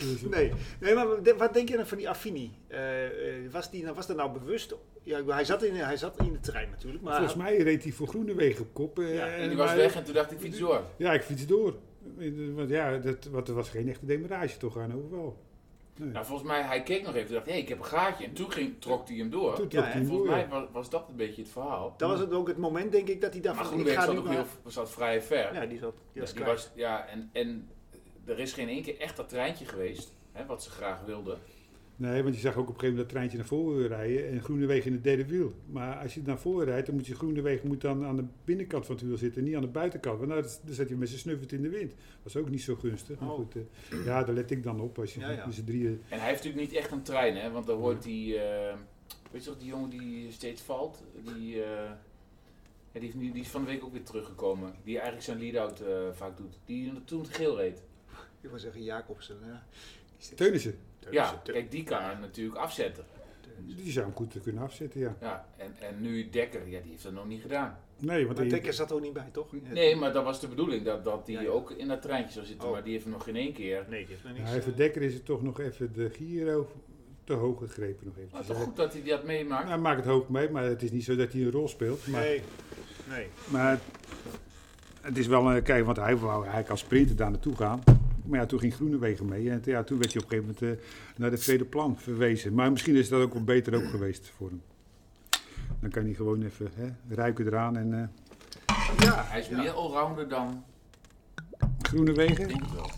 C: Dus, eh,
A: Nee, nee maar wat de- wat denk je dan van die Affini? Eh, eh, was, die, nou- was dat nou bewust? Ja, ik bedoel, hij, zat in, hij zat in de trein natuurlijk, maar
C: Volgens mij reed hij voor Groenewegen op kop. eh,
A: Ja,
B: En die was
C: maar-
B: weg en toen dacht ik, fiets door.
C: Ja, ik fiets door. Eh, Want ja, dat, want er was geen echte demarage toch aan overal. Nee.
B: Nou, volgens mij, hij keek nog even en dacht, hé, ik heb een gaatje. En toen ging, trok hij hem door.
C: Toen trok
A: Ja,
C: hij
A: hè,
B: en
C: hem door,
B: volgens
C: ja.
B: mij was, was dat een beetje het verhaal.
A: dat was het ook het moment denk ik dat hij dacht
B: Maar
A: van ik
B: Groenewegen
A: ga
B: zat
A: nu
B: nog heel,
A: maar...
B: zat vrij ver.
A: Ja, die zat. Die was
B: Dus die
A: kwijt.
B: was, ja, en, en er is geen één keer echt dat treintje geweest, hè, wat ze graag wilden.
C: Nee, want je zag ook op een gegeven moment dat treintje naar voren rijden en Groenewegen in het derde wiel. Maar als je naar voren rijdt, dan moet je Groenewegen moet dan aan de binnenkant van het wiel zitten, niet aan de buitenkant. Want nou, dat- dan zet je met z'n snuffert in de wind. Dat is ook niet zo gunstig. Maar
A: Oh.
C: goed, eh, ja, daar let ik dan op als je
A: Ja, ja.
C: met z'n drieën...
B: En hij heeft natuurlijk niet echt een trein, hè, want dan hoort die, eh, weet je toch, die jongen die steeds valt, die, eh, ja, die, heeft nu, die is van de week ook weer teruggekomen. Die eigenlijk zijn lead-out eh, vaak doet, die toen het geel reed.
A: Ik wil zeggen Jacobsen. Ja, Die is-
C: Teunissen,
B: Ja,
A: Teunissen, Te-
B: kijk, die kan hem natuurlijk afzetten.
A: Teunissen.
C: die zou hem goed kunnen afzetten, ja.
B: Ja, en, en nu Dekker, ja, die heeft dat nog niet gedaan.
C: Nee, want
A: Maar
C: die-
A: Dekker zat er ook niet bij, toch?
B: Nee, maar dat was de bedoeling, dat, dat die
A: Ja, ja.
B: ook in dat treintje zou zitten,
A: Oh.
B: maar die heeft hem nog geen één keer.
A: Nee, die heeft nog
C: ja,
A: niks.
C: hij
A: eh,
C: voor Dekker is het toch nog even de Giro te hoog gegrepen nog even.
B: Maar toch goed dat hij dat meemaakt.
C: nou, maak het hoog mee, maar het is niet zo dat hij een rol speelt. Maar
A: Nee, nee.
C: Maar het is wel een kijk, want hij wou hij kan sprinten daar naartoe gaan. Maar ja, toen ging Groenewegen mee. En t- ja, toen werd hij op een gegeven moment eh, naar het tweede plan verwezen. Maar misschien is dat ook wel beter ook geweest voor hem. Dan kan hij gewoon even hè, ruiken eraan en eh,
A: Ja,
B: Hij is
A: ja.
B: meer allrounder dan.
C: Groene
B: Ik
C: wegen?
B: denk het wel.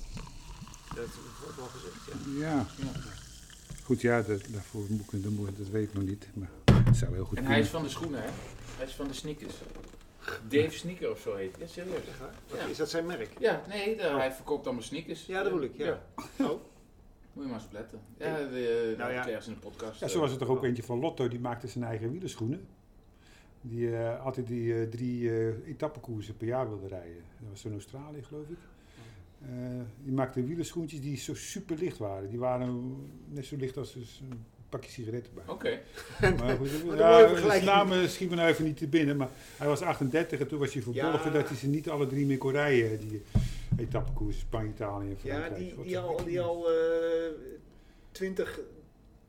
A: Dat wordt wel gezegd, ja.
C: Ja.
B: Ja.
C: Goed, ja, dat, daarvoor moet ik, dat, moet, dat weet ik nog niet. Maar het zou heel goed
B: En
C: kunnen.
B: hij is van de schoenen, hè? Hij is van de sneakers. Dave Sneaker of zo heet. hij. Ja, serieus.
A: Echt waar? Wat- Is dat zijn merk?
B: Ja, nee, daar- hij verkoopt allemaal sneakers.
A: Ja, dat bedoel ik, ja. Oh.
B: Moet je maar eens op letten. Ja, de,
A: Nou ja.
B: ergens in de podcast.
C: Ja,
B: eh,
C: zo was er toch ook eentje van Lotto, die maakte zijn eigen wielerschoenen. Die eh, altijd die eh, drie eh etappekoersen per jaar wilde rijden. Dat was zo in Australië, geloof ik. Eh, die maakte wielerschoentjes die zo super licht waren. Die waren net zo licht als dus een pakje sigaretten bij.
B: Oké.
C: Maar goed, ja, dus
A: Wat een mooie
C: de
A: vergelijking.
C: namen schieten me nou even niet te binnen. Maar hij was 38 en toen was hij verbolgen
A: Ja.
C: dat hij ze niet alle drie meer kon rijden. Die etappekoersen, Spanje, Italië en
A: Ja,
C: Frankrijk.
A: die,
C: Wat
A: die
C: een-
A: al, die al eh 20,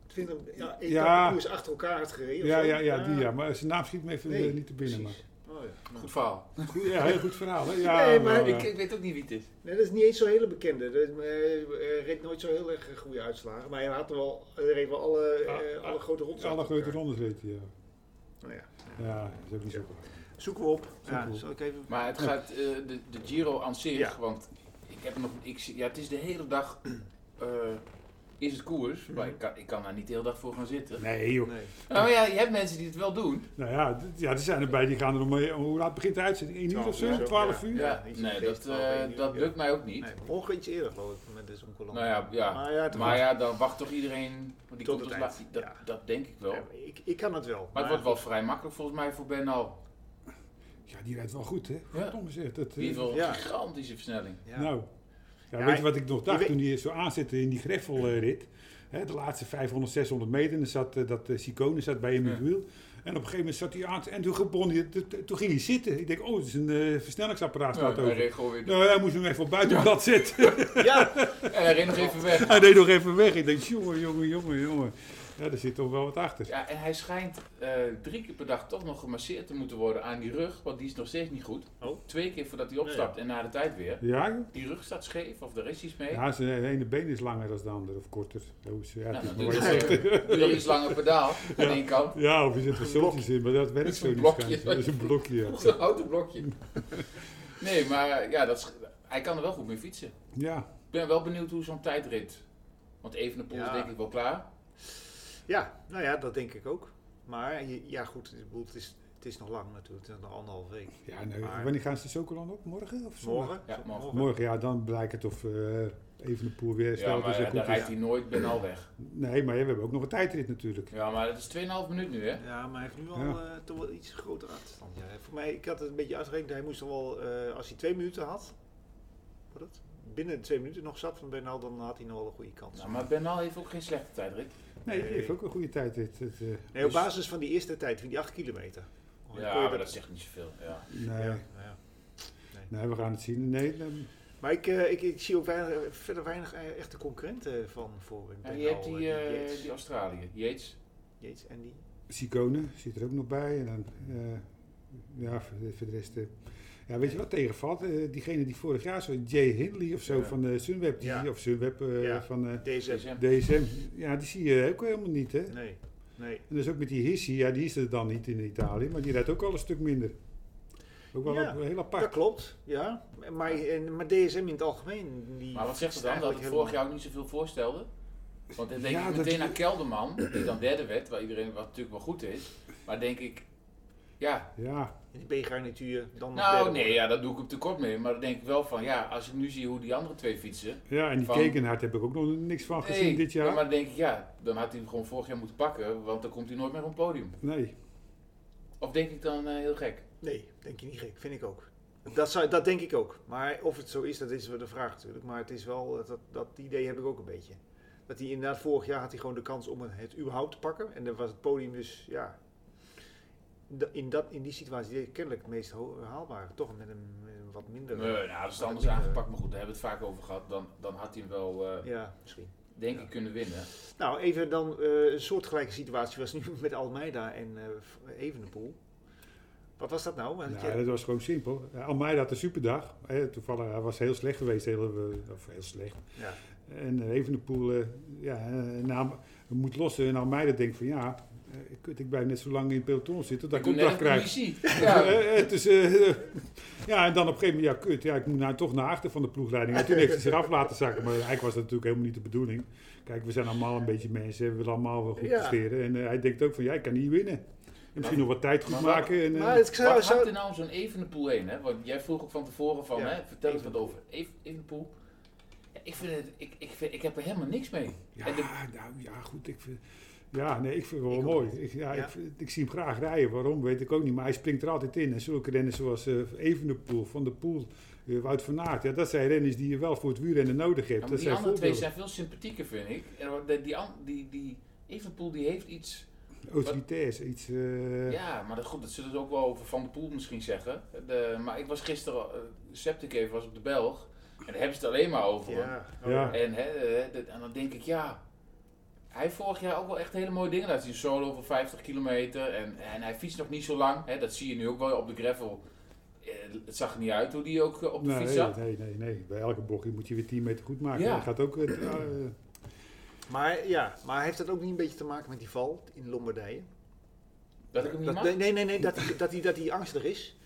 A: 20 ja,
C: Ja.
A: etappekoers achter elkaar had gereden. of
C: Ja,
A: zo. Ah,
C: ja, ja, die ja. Maar zijn naam schiet me even
A: Nee,
C: eh, niet te binnen. Maar.
A: Precies. Oh, ja.
B: Goed verhaal.
C: Goed, ja, heel goed verhaal. Hè? Ja,
A: Nee, maar
C: eh,
B: Ik, ik weet ook niet wie het is.
A: Nee, dat is niet eens zo'n hele bekende. Dat, eh, eh, reed nooit zo heel erg eh, goede uitslagen. Maar hij had wel, hij reed wel alle, eh,
C: Ah,
A: alle grote rondes.
C: alle
A: achter
C: grote
A: elkaar.
C: rondes weet hij, ja.
A: Nou ja.
C: Ja, dat is ook niet zo goed.
A: Zoeken we op. ja,
C: we op.
A: Zal ik even...
B: Maar het gaat eh, de, de Giro aan zich,
A: Ja.
B: want ik heb nog, ik, zie- ja, het is de hele dag eh, is het koers,
A: Mhm.
B: maar ik kan, ik kan daar niet de hele dag voor gaan zitten.
C: Nee, joh.
A: Nee.
B: Nou ja, je hebt mensen die het wel doen.
C: Nou ja, d- ja, er zijn erbij die gaan er om. eh, Hoe laat begint de uitzending? 1 uur of zo?
A: Twaalf uur,
C: 12
A: ja.
C: uur?
B: Ja,
A: iets
B: nee,
A: van
B: dat,
A: twaalf,
B: eh,
A: één uur,
B: dat
A: ja.
B: lukt mij ook niet.
A: nee. Morgen iets eerder geloof ik met de zonkolom.
B: Nou ja, ja.
A: Maar ja, toch
B: maar ja, dan wacht toch iedereen, want die
A: Tot
B: komt
A: het
B: als
A: eind,
B: la- dat,
A: ja.
B: dat denk ik wel.
A: Ja, maar ik, ik kan het wel.
B: Maar het wordt wel vrij makkelijk volgens mij voor Bernal.
C: Ja, die rijdt wel goed, hè?
B: Ja.
C: Tom zegt dat. eh,
B: Die heeft wel
A: Ja.
B: een gigantische versnelling.
A: Ja.
C: Nou, ja,
A: Ja,
C: weet je wat ik nog
A: je
C: dacht
A: weet-
C: toen hij zo aanzette in die greffelrit? Hè, de laatste 500, 600 meter. En dan zat eh, dat eh, Sicone zat bij hem in het
B: Ja.
C: wiel. En op een gegeven moment zat hij aan. En toen, gebon, hij- t- t- toen ging hij zitten. Ik denk, oh, het is een eh, versnellingsapparaat
B: Ja,
C: staat
B: hij
C: over.
B: reed gewoon weer
C: Nou, hij moest hem even op buitenblad zetten.
A: Ja,
B: En hij reed nog even weg.
C: Hij deed nog even weg. Ik denk, jongen, jongen, jongen, jongen. Ja, daar zit toch wel wat achter.
B: Ja, en hij schijnt eh, drie keer per dag toch nog gemasseerd te moeten worden aan die rug, want die is nog steeds niet goed.
A: Oh.
B: Twee keer voordat hij opstapt en na de tijd weer.
C: Ja, joh.
B: Die rug staat scheef of er is iets mee.
C: ja zijn ene been is langer dan de andere, of korter. Ja, hoe is- ja,
B: nou,
C: het is
B: dan
C: maar
B: doe
C: wat
B: je
C: je
B: weer-
C: zegt.
B: doe je iets langer pedaal aan één kant.
C: ja, of je zit er zultjes in, maar dat werkt
B: Met
C: zo
B: zo'n
C: niet.
B: blokje.
C: schijnt. Dat is een blokje, ja.
B: Zo'n houten blokje. Nee, maar ja, dat is- hij kan er wel goed mee fietsen.
C: Ja,
B: Ik ben wel benieuwd hoe zo'n tijdrit. Want Evenepoel
A: Ja.
B: is denk ik wel klaar.
A: ja, nou ja, dat denk ik ook. Maar je- ja, goed, ik bedoel, het is, het is nog lang natuurlijk. Het is nog anderhalf week.
C: ja nou,
A: Maar-
C: wanneer gaan ze de Sokolan op? Morgen of zondag?
A: Morgen?
B: Ja, morgen.
C: Morgen, ja, dan blijkt het of eh even de poel weer
B: Ja,
C: stelt als
B: maar
C: hij
B: eh, daar
C: goed is.
B: rijdt hij nooit, ben al weg.
C: Nee, maar ja, we hebben ook nog een tijdrit natuurlijk.
B: Ja, maar dat is 2,5 minuut nu, hè?
A: Ja, maar hij heeft nu al
C: Ja.
A: eh, toch wel iets grotere achterstand. Ja, voor mij, ik had het een beetje uitgerekend. Hij moest toch wel, eh, als hij twee minuten had, wat dat? binnen twee minuten nog zat van Bernal, dan had hij nog wel een goede kans.
B: Nou, maar Benal heeft ook geen slechte tijdrit.
C: Nee,
A: Nee.
C: die heeft ook een goede tijdrit. Het, eh,
A: nee, op
B: dus-
A: basis van die eerste tijd, van die acht kilometer. Oh, dan
B: Ja,
A: kon je
B: maar dat zegt niet zoveel. Ja.
C: nee,
A: Ja, nou ja.
C: nee, we gaan het zien. Nee, dan-
A: Maar ik, eh, ik, ik zie ook weinig, verder weinig eh, echte concurrenten van voor
B: En
A: Bernal.
B: je hebt
A: eh,
B: die, eh,
A: Yates.
B: die Australië, Yates.
A: Yates en die...
C: Sicone zit er ook nog bij. En dan, eh, ja, voor de, voor de rest. eh, ja, weet je wat tegenvalt? Eh, diegene die vorig jaar zo, Jay Hindley of zo
B: Ja.
C: van eh, Sunweb, die,
A: Ja.
C: of Sunweb eh,
A: Ja.
C: van eh,
A: Deze.
B: DSM.
C: DSM, ja, die zie je ook helemaal niet. Hè?
A: Nee, nee.
C: En dus ook met die Hissi, ja, die is er dan niet in Italië, maar die rijdt ook al een stuk minder. Ook wel
A: Ja,
C: op- heel
A: Dat
C: apart.
A: klopt, ja. Maar, en- maar DSM in het algemeen... Die
B: Maar wat zegt ze
A: is
B: dan? Dat
A: eigenlijk
B: ik vorig
A: helemaal-
B: jaar ook niet zoveel voorstelde? Want dan denk
C: Ja,
B: ik
C: dat-
B: meteen aan Kelderman, die dan derde werd, waar iedereen wat natuurlijk wel goed is. Maar denk ik, ja,
C: Ja,
A: In de B-garnituur, dan nog
B: nou
A: derde
B: nee,
A: worden.
B: ja, dat doe ik hem tekort mee. Maar dan denk ik wel van, ja, als ik nu zie hoe die andere twee fietsen,
C: ja, en die
B: Van-
C: Kekenhard heb ik ook nog niks van gezien dit jaar.
B: ja, maar dan denk ik, ja, dan had hij hem gewoon vorig jaar moeten pakken, want dan komt hij nooit meer op het podium.
C: Nee,
B: Of denk ik dan eh, heel gek?
A: Nee, denk je niet gek, vind ik ook. Dat, zou, dat denk ik ook. Maar of het zo is, dat is wel de vraag natuurlijk. Maar het is wel, eh, dat, dat idee heb ik ook een beetje. Dat hij inderdaad, vorig jaar had hij gewoon de kans om het- het überhaupt te pakken. En dan was het podium dus, ja... da- In, dat, in die situatie deed hij kennelijk het meest ho- haalbare. Toch met een, met een wat minder...
B: Nee, nou, als het anders
A: eh,
B: aangepakt, maar goed, daar hebben we het vaak over gehad, dan, dan had hij hem wel, eh,
A: Ja, misschien.
B: denk ik, kunnen winnen.
A: Nou, even dan eh, een soortgelijke situatie was nu met Almeida en eh Evenepoel. Wat was dat nou? Had
C: Nou,
A: je-
C: dat was gewoon simpel. Eh, Almeida had een superdag. Hè, toevallig, hij was heel slecht geweest. Heel, eh, of heel slecht.
A: ja.
C: eh, En Evenepoel, eh ja, eh, nou, moet lossen. En Almeida denkt van ja, Eh, kut, ik blijf net zo lang in het peloton zitten dat ik
B: doe net
C: opdracht
B: een
C: krijg.
B: politie.
C: Eh,
B: Ja.
C: eh, het is, eh, ja, en dan op een gegeven moment, ja, kut, ja, ik moet nou toch naar achter van de ploegleiding. En toen heeft hij zich af laten zakken, maar eigenlijk was dat natuurlijk helemaal niet de bedoeling. Kijk, we zijn allemaal een beetje mensen, we willen allemaal wel goed
A: Ja.
C: presteren. En eh, hij denkt ook van, ja, ik kan hier winnen. En misschien nog wat tijd goed
B: Maar wat-
C: maken. En, eh,
A: Maar het zou,
B: Wat hakt
A: zou,
B: er nou om zo'n Evenepoel heen? Hè? Want jij vroeg ook van tevoren van,
A: Ja,
B: hè, vertel eens wat
A: Evenepoel.
B: over Even- Evenepoel. Ja, ik, vind het, ik, ik, vind, ik heb er helemaal niks mee.
C: ja,
B: En de-
C: nou, ja, goed, ik vind... Ja, nee, ik vind het wel
A: Ik ook
C: mooi.
A: niet.
C: Ik, ja,
A: Ja.
C: Ik, vind- ik zie hem graag rijden. Waarom, weet ik ook niet. Maar hij springt er altijd in. En zulke renners zoals eh Evenepoel, Van der Poel, eh, Wout van Aert. Ja, dat zijn renners die je wel voor het wielrennen nodig hebt.
B: Ja, maar
C: dat
B: die
C: zijn
B: andere twee
C: voorbeelden.
B: zijn veel sympathieker, vind ik. En wat- die, die, an- die, die Evenepoel die heeft iets...
C: Autoritairs, iets... eh,
B: Ja, maar dat, goed, dat zullen ze ook wel over Van der Poel misschien zeggen. De, maar ik was gisteren... eh, Septikever was op de Belg. En daar hebben ze het alleen maar over. hem.
A: ja, oh
C: Ja.
B: En, hè, eh, dit- en dan denk ik, ja... Hij heeft vorig jaar ook wel echt hele mooie dingen laten zien. Solo over 50 kilometer. En, en hij fietst nog niet zo lang. Hè, dat zie je nu ook wel op de gravel. Eh, het zag er niet uit hoe die ook eh, op de
C: nou, Nee,
B: fiets zat.
C: nee, nee, nee. Bij elke bochtje moet je weer 10 meter goed maken.
B: Ja.
C: Dat gaat ook. Het, eh,
A: Maar ja, maar heeft dat ook niet een beetje te maken met die val in Lombardije?
B: Dat ik hem niet
A: Dat,
B: mag.
A: nee, nee, nee, nee, dat, dat, die, dat die angst er is.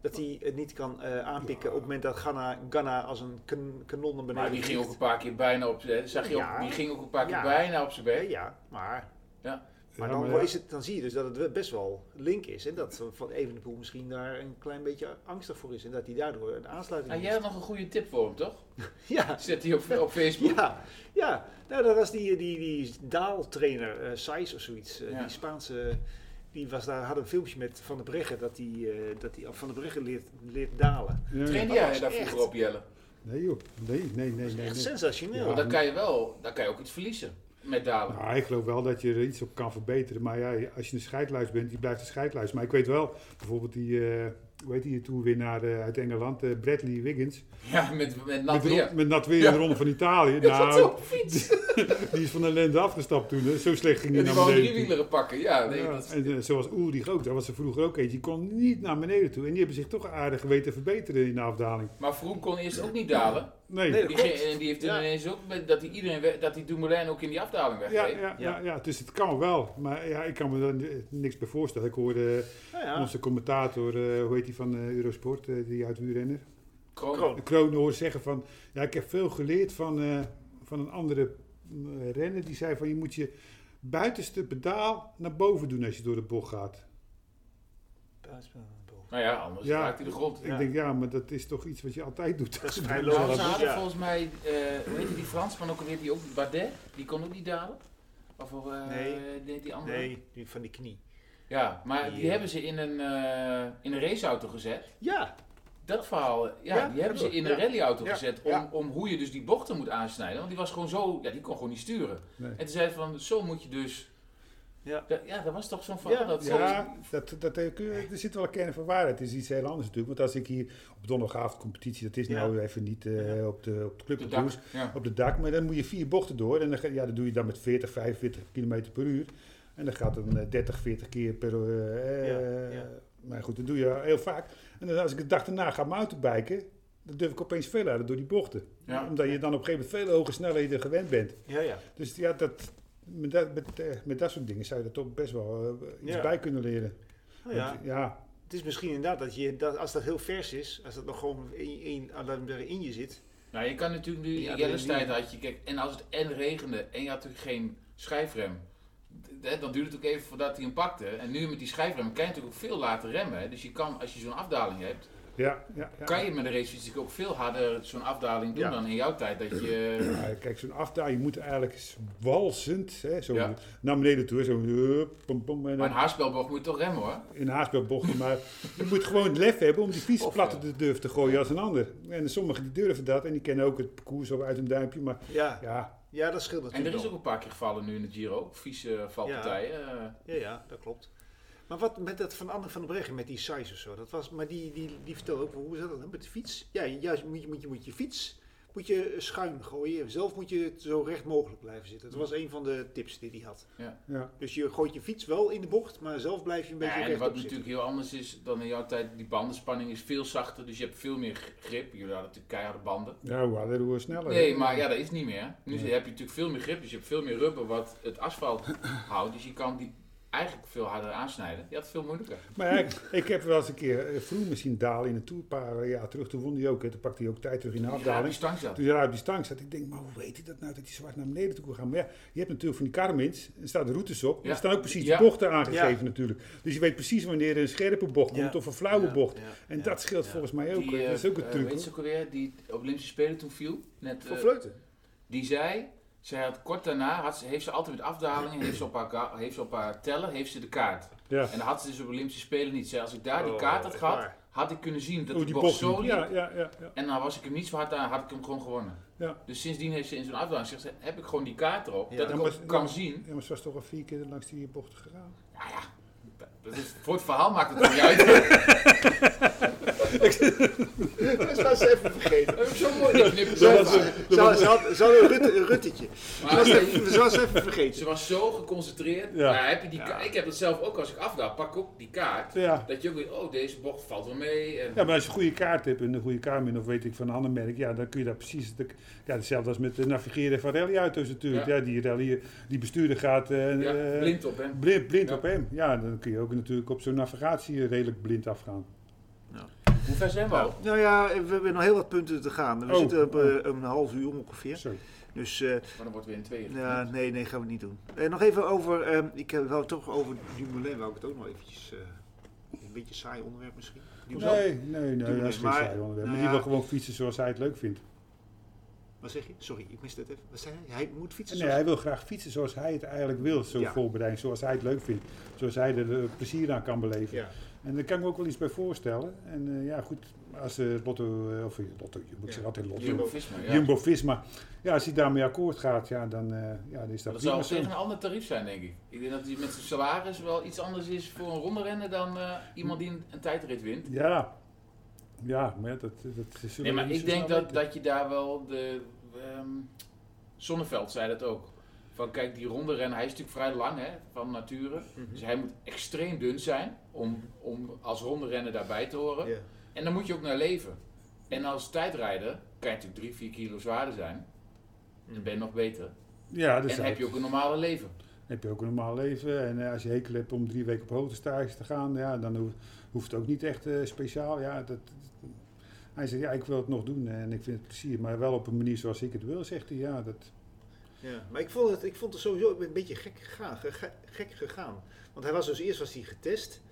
A: Dat hij het niet kan eh, aanpikken op het moment dat Ghana, Ghana als een kan, kanon naar beneden
B: Maar die ging ook
A: vliegt.
B: een paar keer bijna op zijn zag je ook-
A: Ja.
B: Die ging ook een paar keer
A: Ja.
B: bijna op zijn
A: Ja,
B: bek.
A: ja, maar, maar,
C: ja,
A: dan,
C: maar
A: wel
C: ja,
A: Is het, dan zie je dus dat het wel best wel link is. En dat Van Evenepoel misschien daar een klein beetje angstig voor is. En dat hij daardoor een aansluiting
B: En Nou, jij had nog een goede tip voor hem, toch?
A: mist. Ja,
B: Zet hij op, op Facebook.
A: ja, ja. Nou, dat was die, die, die daaltrainer, eh Saiz of zoiets. eh,
B: Ja.
A: Die Spaanse, die was daar, had een filmpje met Van der Breggen. Dat hij eh, dat die Van der Breggen leert, leert dalen.
C: nee,
B: Trainde
A: Ja, dat
B: jij
A: is
B: daar
A: echt.
B: vroeger op, Jelle?
C: nee, joh. Nee, nee, nee,
A: Dat is
C: nee.
A: echt
C: nee.
A: sensationeel.
C: Ja.
B: Want dan kan je wel, dan kan je ook iets verliezen met dalen.
C: Nou, ik geloof wel dat je er iets op kan verbeteren. Maar ja, als je een scheidluis bent, die blijft een scheidluis. Maar ik weet wel, bijvoorbeeld die, eh hoe heet die toerwinnaar eh, uit Engeland, eh, Bradley Wiggins.
B: Ja, met, met nat
C: met,
B: weer.
C: met nat weer in
B: Ja.
C: de Ronde van Italië.
B: Dat is
C: Nou,
B: op fiets.
C: die is van de lente afgestapt toen. hè. Zo slecht ging hij
B: En die
C: naar
B: wou
C: beneden.
B: drie wieleren pakken. Ja, nee,
C: Ja,
B: dat is-
C: en eh, zoals Ulrich ook, daar was er vroeger ook eentje. Die kon niet naar beneden toe. En die hebben zich toch aardig weten te verbeteren in de afdaling.
B: Maar Vroom kon eerst ook niet dalen.
C: Nee.
A: Nee, dat
B: Die
A: klopt.
B: ging- en die heeft toen
A: Ja.
B: ineens ook met, dat hij iedereen weg- dat hij Dumoulin ook in die afdaling
C: ja,
B: wegreed.
C: ja,
A: Ja.
C: ja, ja, dus het kan wel. Maar ja, ik kan me daar eh, niks bij voorstellen. Ik hoorde eh,
A: Nou ja.
C: onze commentator, eh, hoe heet die van eh, Eurosport, eh, die uit wielrenner.
B: Kroon.
A: Kroon.
C: Kroon hoorde zeggen van, ja, ik heb veel geleerd van, eh, van een andere eh, renner. Die zei van, je moet je buitenste pedaal naar boven doen als je door de bocht gaat.
B: Nou ja, anders
C: Ja.
B: raakt hij de grond.
C: Ik denk, ja, maar dat is toch iets wat je altijd doet.
A: Dat is vrij
B: Nou,
A: logisch.
B: ze
A: Ja.
B: hadden volgens mij, eh, hoe heet die Fransman ook alweer, die ook, Bardet, die kon ook niet dalen. Of eh,
A: Nee.
B: die- die andere.
A: Nee, die van die knie.
B: Ja, maar die
A: Ja.
B: hebben ze in een, eh, in een raceauto gezet.
A: Ja,
B: Dat verhaal, eh, ja,
A: Ja,
B: die hebben ze in
A: ja.
B: een rallyauto
A: Ja,
B: gezet om,
A: ja.
B: om hoe je dus die bochten moet aansnijden. Want die was gewoon zo, ja, die kon gewoon niet sturen.
C: Nee.
B: En toen zei ze van, zo moet je dus...
A: Ja.
B: Da- ja, dat was toch zo'n verhaal.
A: Ja,
B: dat zo-
C: Ja, dat, dat, eh, kun je- er zit wel een kern van waarheid. Het is iets heel anders natuurlijk. Want als ik hier op donderdagavond competitie, dat is
A: Ja.
C: nou even niet eh, op de, op de club
B: de
C: op
B: dak.
C: Does,
B: Ja.
C: op de dak. Maar dan moet je vier bochten door. En dan, ga- ja, dat doe je dan met 40, 45 km per uur. En dan gaat dan eh, 30, 40 keer per... eh, eh,
A: Ja, ja.
C: Maar goed, dat doe je heel vaak. En dan, als ik de dag daarna ga mountainbiken, dan durf ik opeens veel harder door die bochten.
B: Ja.
C: Omdat je dan op een gegeven moment veel hoge snelheden gewend bent.
A: ja, ja.
C: Dus ja, dat, met, dat, met, eh, met dat soort dingen zou je er toch best wel eh, iets
A: Ja.
C: bij kunnen leren.
A: Nou ja.
C: Want, ja,
A: Het is misschien inderdaad dat je, dat, als dat heel vers is, als dat nog gewoon in, in, aan dat er in je zit.
B: Nou, je kan natuurlijk nu,
A: Ja,
B: in
A: dat
B: Jelle's
A: is niet-
B: tijd had je, kijk, en als het en regende en je had natuurlijk geen schijfrem, d- hè, dan duurde het ook even voordat hij hem pakte. En nu met die schijfrem kan je natuurlijk ook veel later remmen. hè. Dus je kan, als je zo'n afdaling hebt,
C: ja, ja. ja.
B: kan je met de racefiets ook veel harder zo'n afdaling doen
A: Ja.
B: dan in jouw tijd. Dat je,
C: Ja, kijk, zo'n afdaling moet eigenlijk walsend hè, zo
B: Ja.
C: naar beneden toe. hè, Zo, hup, pom, pom, en
B: maar een
C: dan
B: haarspelboog moet je toch remmen hoor.
C: in haasbelbochten. Maar je moet gewoon het lef hebben om die fiets
B: Of,
C: platte
B: eh,
C: te durven te gooien als een ander. En sommigen die durven dat en die kennen ook het parcours zo uit hun duimpje. Maar
A: Ja,
C: ja,
A: ja dat scheelt
B: En er
A: natuurlijk
B: is ook
A: wel.
B: een paar keer gevallen nu in de Giro, ook vieze valpartijen.
A: Ja,
B: eh.
A: ja, dat klopt. Maar wat met dat van Anne van der Breggen, met die size of zo, dat was, maar die, die, die vertelde ook, hoe is dat dan met de fiets? Ja, juist moet je, moet je, moet je fiets moet je schuin gooien. Zelf moet je zo recht mogelijk blijven zitten. Dat was een van de tips die hij had.
C: ja.
A: Dus je gooit je fiets wel in de bocht, maar zelf blijf je een beetje
B: Ja, en
A: rechtop
B: wat
A: zitten.
B: natuurlijk heel anders is dan in jouw tijd, die bandenspanning is veel zachter, dus je hebt veel meer grip. Jullie hadden natuurlijk keiharde banden.
C: ja hoe harder, hoe sneller.
B: Nee,
C: hè.
B: maar ja, dat is niet meer. Nu
C: Oh, Nee.
B: heb je natuurlijk veel meer grip, dus je hebt veel meer rubber wat het asfalt houdt. Dus je kan die, eigenlijk veel harder aansnijden. Die had het veel moeilijker.
C: Maar ik, ik heb wel eens een keer eh, vroeg misschien dalen in de Tour, een paar eh, jaar terug. Toen won hij ook, hè. toen pakte hij ook tijd terug in de
B: Die raar op die
C: afdaling.
B: stang zat.
C: Toen hij daar op die stang zat, ik denk, maar hoe weet hij dat nou, dat hij zo hard naar beneden toe kon gaan? Maar ja, je hebt natuurlijk van die karmins, er staan de routes op,
B: Ja.
C: er staan ook precies
B: Ja.
C: de bochten aangegeven
A: Ja.
C: natuurlijk. Dus je weet precies wanneer er een scherpe bocht komt of een flauwe bocht. En dat scheelt volgens mij ook,
B: Die,
C: hè. dat is
B: eh,
C: ook een
B: eh,
C: truc.
B: weet
C: hoor.
B: je ook alweer, die op Olympische Spelen toen viel. Net,
A: Voor
B: eh,
A: fleuten.
B: die zei, zij had kort daarna, had ze, heeft ze altijd met afdalingen, heeft ze, op haar, ga- heeft ze op haar tellen, heeft ze de kaart.
C: Ja.
B: En dat had ze dus op de Olympische Spelen niet. Zij, als ik daar die
A: Oh,
B: kaart had
A: echt
B: gehad,
A: waar.
B: had ik kunnen zien dat
C: Oh,
B: die
C: die
B: bocht
C: bocht.
B: zo liep.
C: Ja, ja, ja, ja.
B: En dan was ik hem niet zo hard aan, had ik hem gewoon gewonnen.
C: Ja.
B: Dus sindsdien heeft ze in zo'n afdaling gezegd, heb ik gewoon die kaart erop,
A: Ja.
B: dat ik
C: Ja, maar-
B: ook kan zien.
C: Ja, maar ze was toch al vier keer langs die bocht gegaan.
B: Nou ja, dat is, voor het verhaal maakt het ook niet uit.
A: Dat was ze even vergeten.
B: Dat is Zo'n mooi geknipt.
A: Ze had- ze had- ze had- ze had een rut- een ruttetje. Ze
B: Maar
A: was
B: ze-
A: even- ze was even vergeten.
B: Ze was zo geconcentreerd.
C: Ja.
B: Nou, heb je die ka- Ik heb het zelf ook als ik afdaal, pak ik ook die kaart.
C: Ja.
B: Dat je ook weet, oh deze bocht valt wel mee. En
C: Ja, maar als je een goede kaart hebt en een goede kamer of weet ik van een ander merk, ja, dan kun je daar precies. de- ja, hetzelfde als met het navigeren van rallyauto's natuurlijk.
B: Ja.
C: Ja, die rally, die bestuurder gaat eh,
B: Ja,
C: eh,
B: blind op hè.
C: blind, blind
B: Ja.
C: op hem. Ja, dan kun je ook natuurlijk op zo'n navigatie redelijk blind afgaan.
B: Hoe ver zijn we al?
A: Nou ja, we hebben nog heel wat punten te gaan. We
C: Oh.
A: zitten op eh, een half uur ongeveer.
C: Zo.
A: Dus eh,
B: Maar dan wordt weer een tweeën.
A: ja, nee, nee, gaan we niet doen. Eh, nog even over, eh, ik eh, wou toch over Dumoulin, wou ik het ook nog eventjes, eh, een beetje een saai onderwerp misschien. Dumoulin,
C: Nee, nee, nee,
A: Doe
C: dat
A: maar.
C: is geen saai onderwerp.
A: Nou
C: Maar
A: ja.
C: die wil gewoon fietsen zoals hij het leuk vindt.
A: wat zeg je? Sorry, ik miste het even. Wat zei hij? Hij moet fietsen?
C: Nee, hij wil graag fietsen zoals hij het eigenlijk wil, zo
A: Ja.
C: voorbereiding, zoals hij het leuk vindt. Zoals hij er eh, plezier aan kan beleven.
A: Ja.
C: En daar kan ik me ook wel iets bij voorstellen. En eh, ja, goed, als eh, Lotto, eh, of eh, Lotto, je moet
A: Ja.
C: zeggen altijd Lotto.
B: Jumbo Visma, ja.
C: Jumbo Visma. Ja, als hij daarmee akkoord gaat, ja, dan, eh, ja, dan is dat
B: Dat zou
C: zo.
B: tegen een ander tarief zijn, denk ik. Ik denk dat die met zijn salaris wel iets anders is voor een ronde rennen dan eh, iemand die een, een tijdrit wint.
C: Ja, ja, maar ja, dat, dat zullen we
B: Nee, maar
C: niet zo
B: ik denk
C: snel
B: dat,
C: weten.
B: dat je daar wel de. ehm Zonneveld zei dat ook. Van kijk, die ronde rennen, hij is natuurlijk vrij lang hè, van nature. Dus hij moet extreem dun zijn om, om als ronde rennen daarbij te horen.
A: Ja.
B: En dan moet je ook naar leven. En als tijdrijder kan je natuurlijk drie, vier kilo zwaarder zijn. Dan ben je nog beter.
C: Ja, dus
B: En heb je ook een normale leven.
C: heb je ook een normaal leven. En eh, als je hekel hebt om drie weken op hoogtestage te gaan, ja, dan hoeft, hoeft het ook niet echt eh, speciaal. Ja, dat, hij zegt, ja, ik wil het nog doen eh, en ik vind het plezier, maar wel op een manier zoals ik het wil, zegt hij. Ja, dat,
A: Ja, maar ik vond, het, ik vond het sowieso ik ben een beetje gek gegaan, ge- ge- gek gegaan. Want hij was dus eerst was hij getest.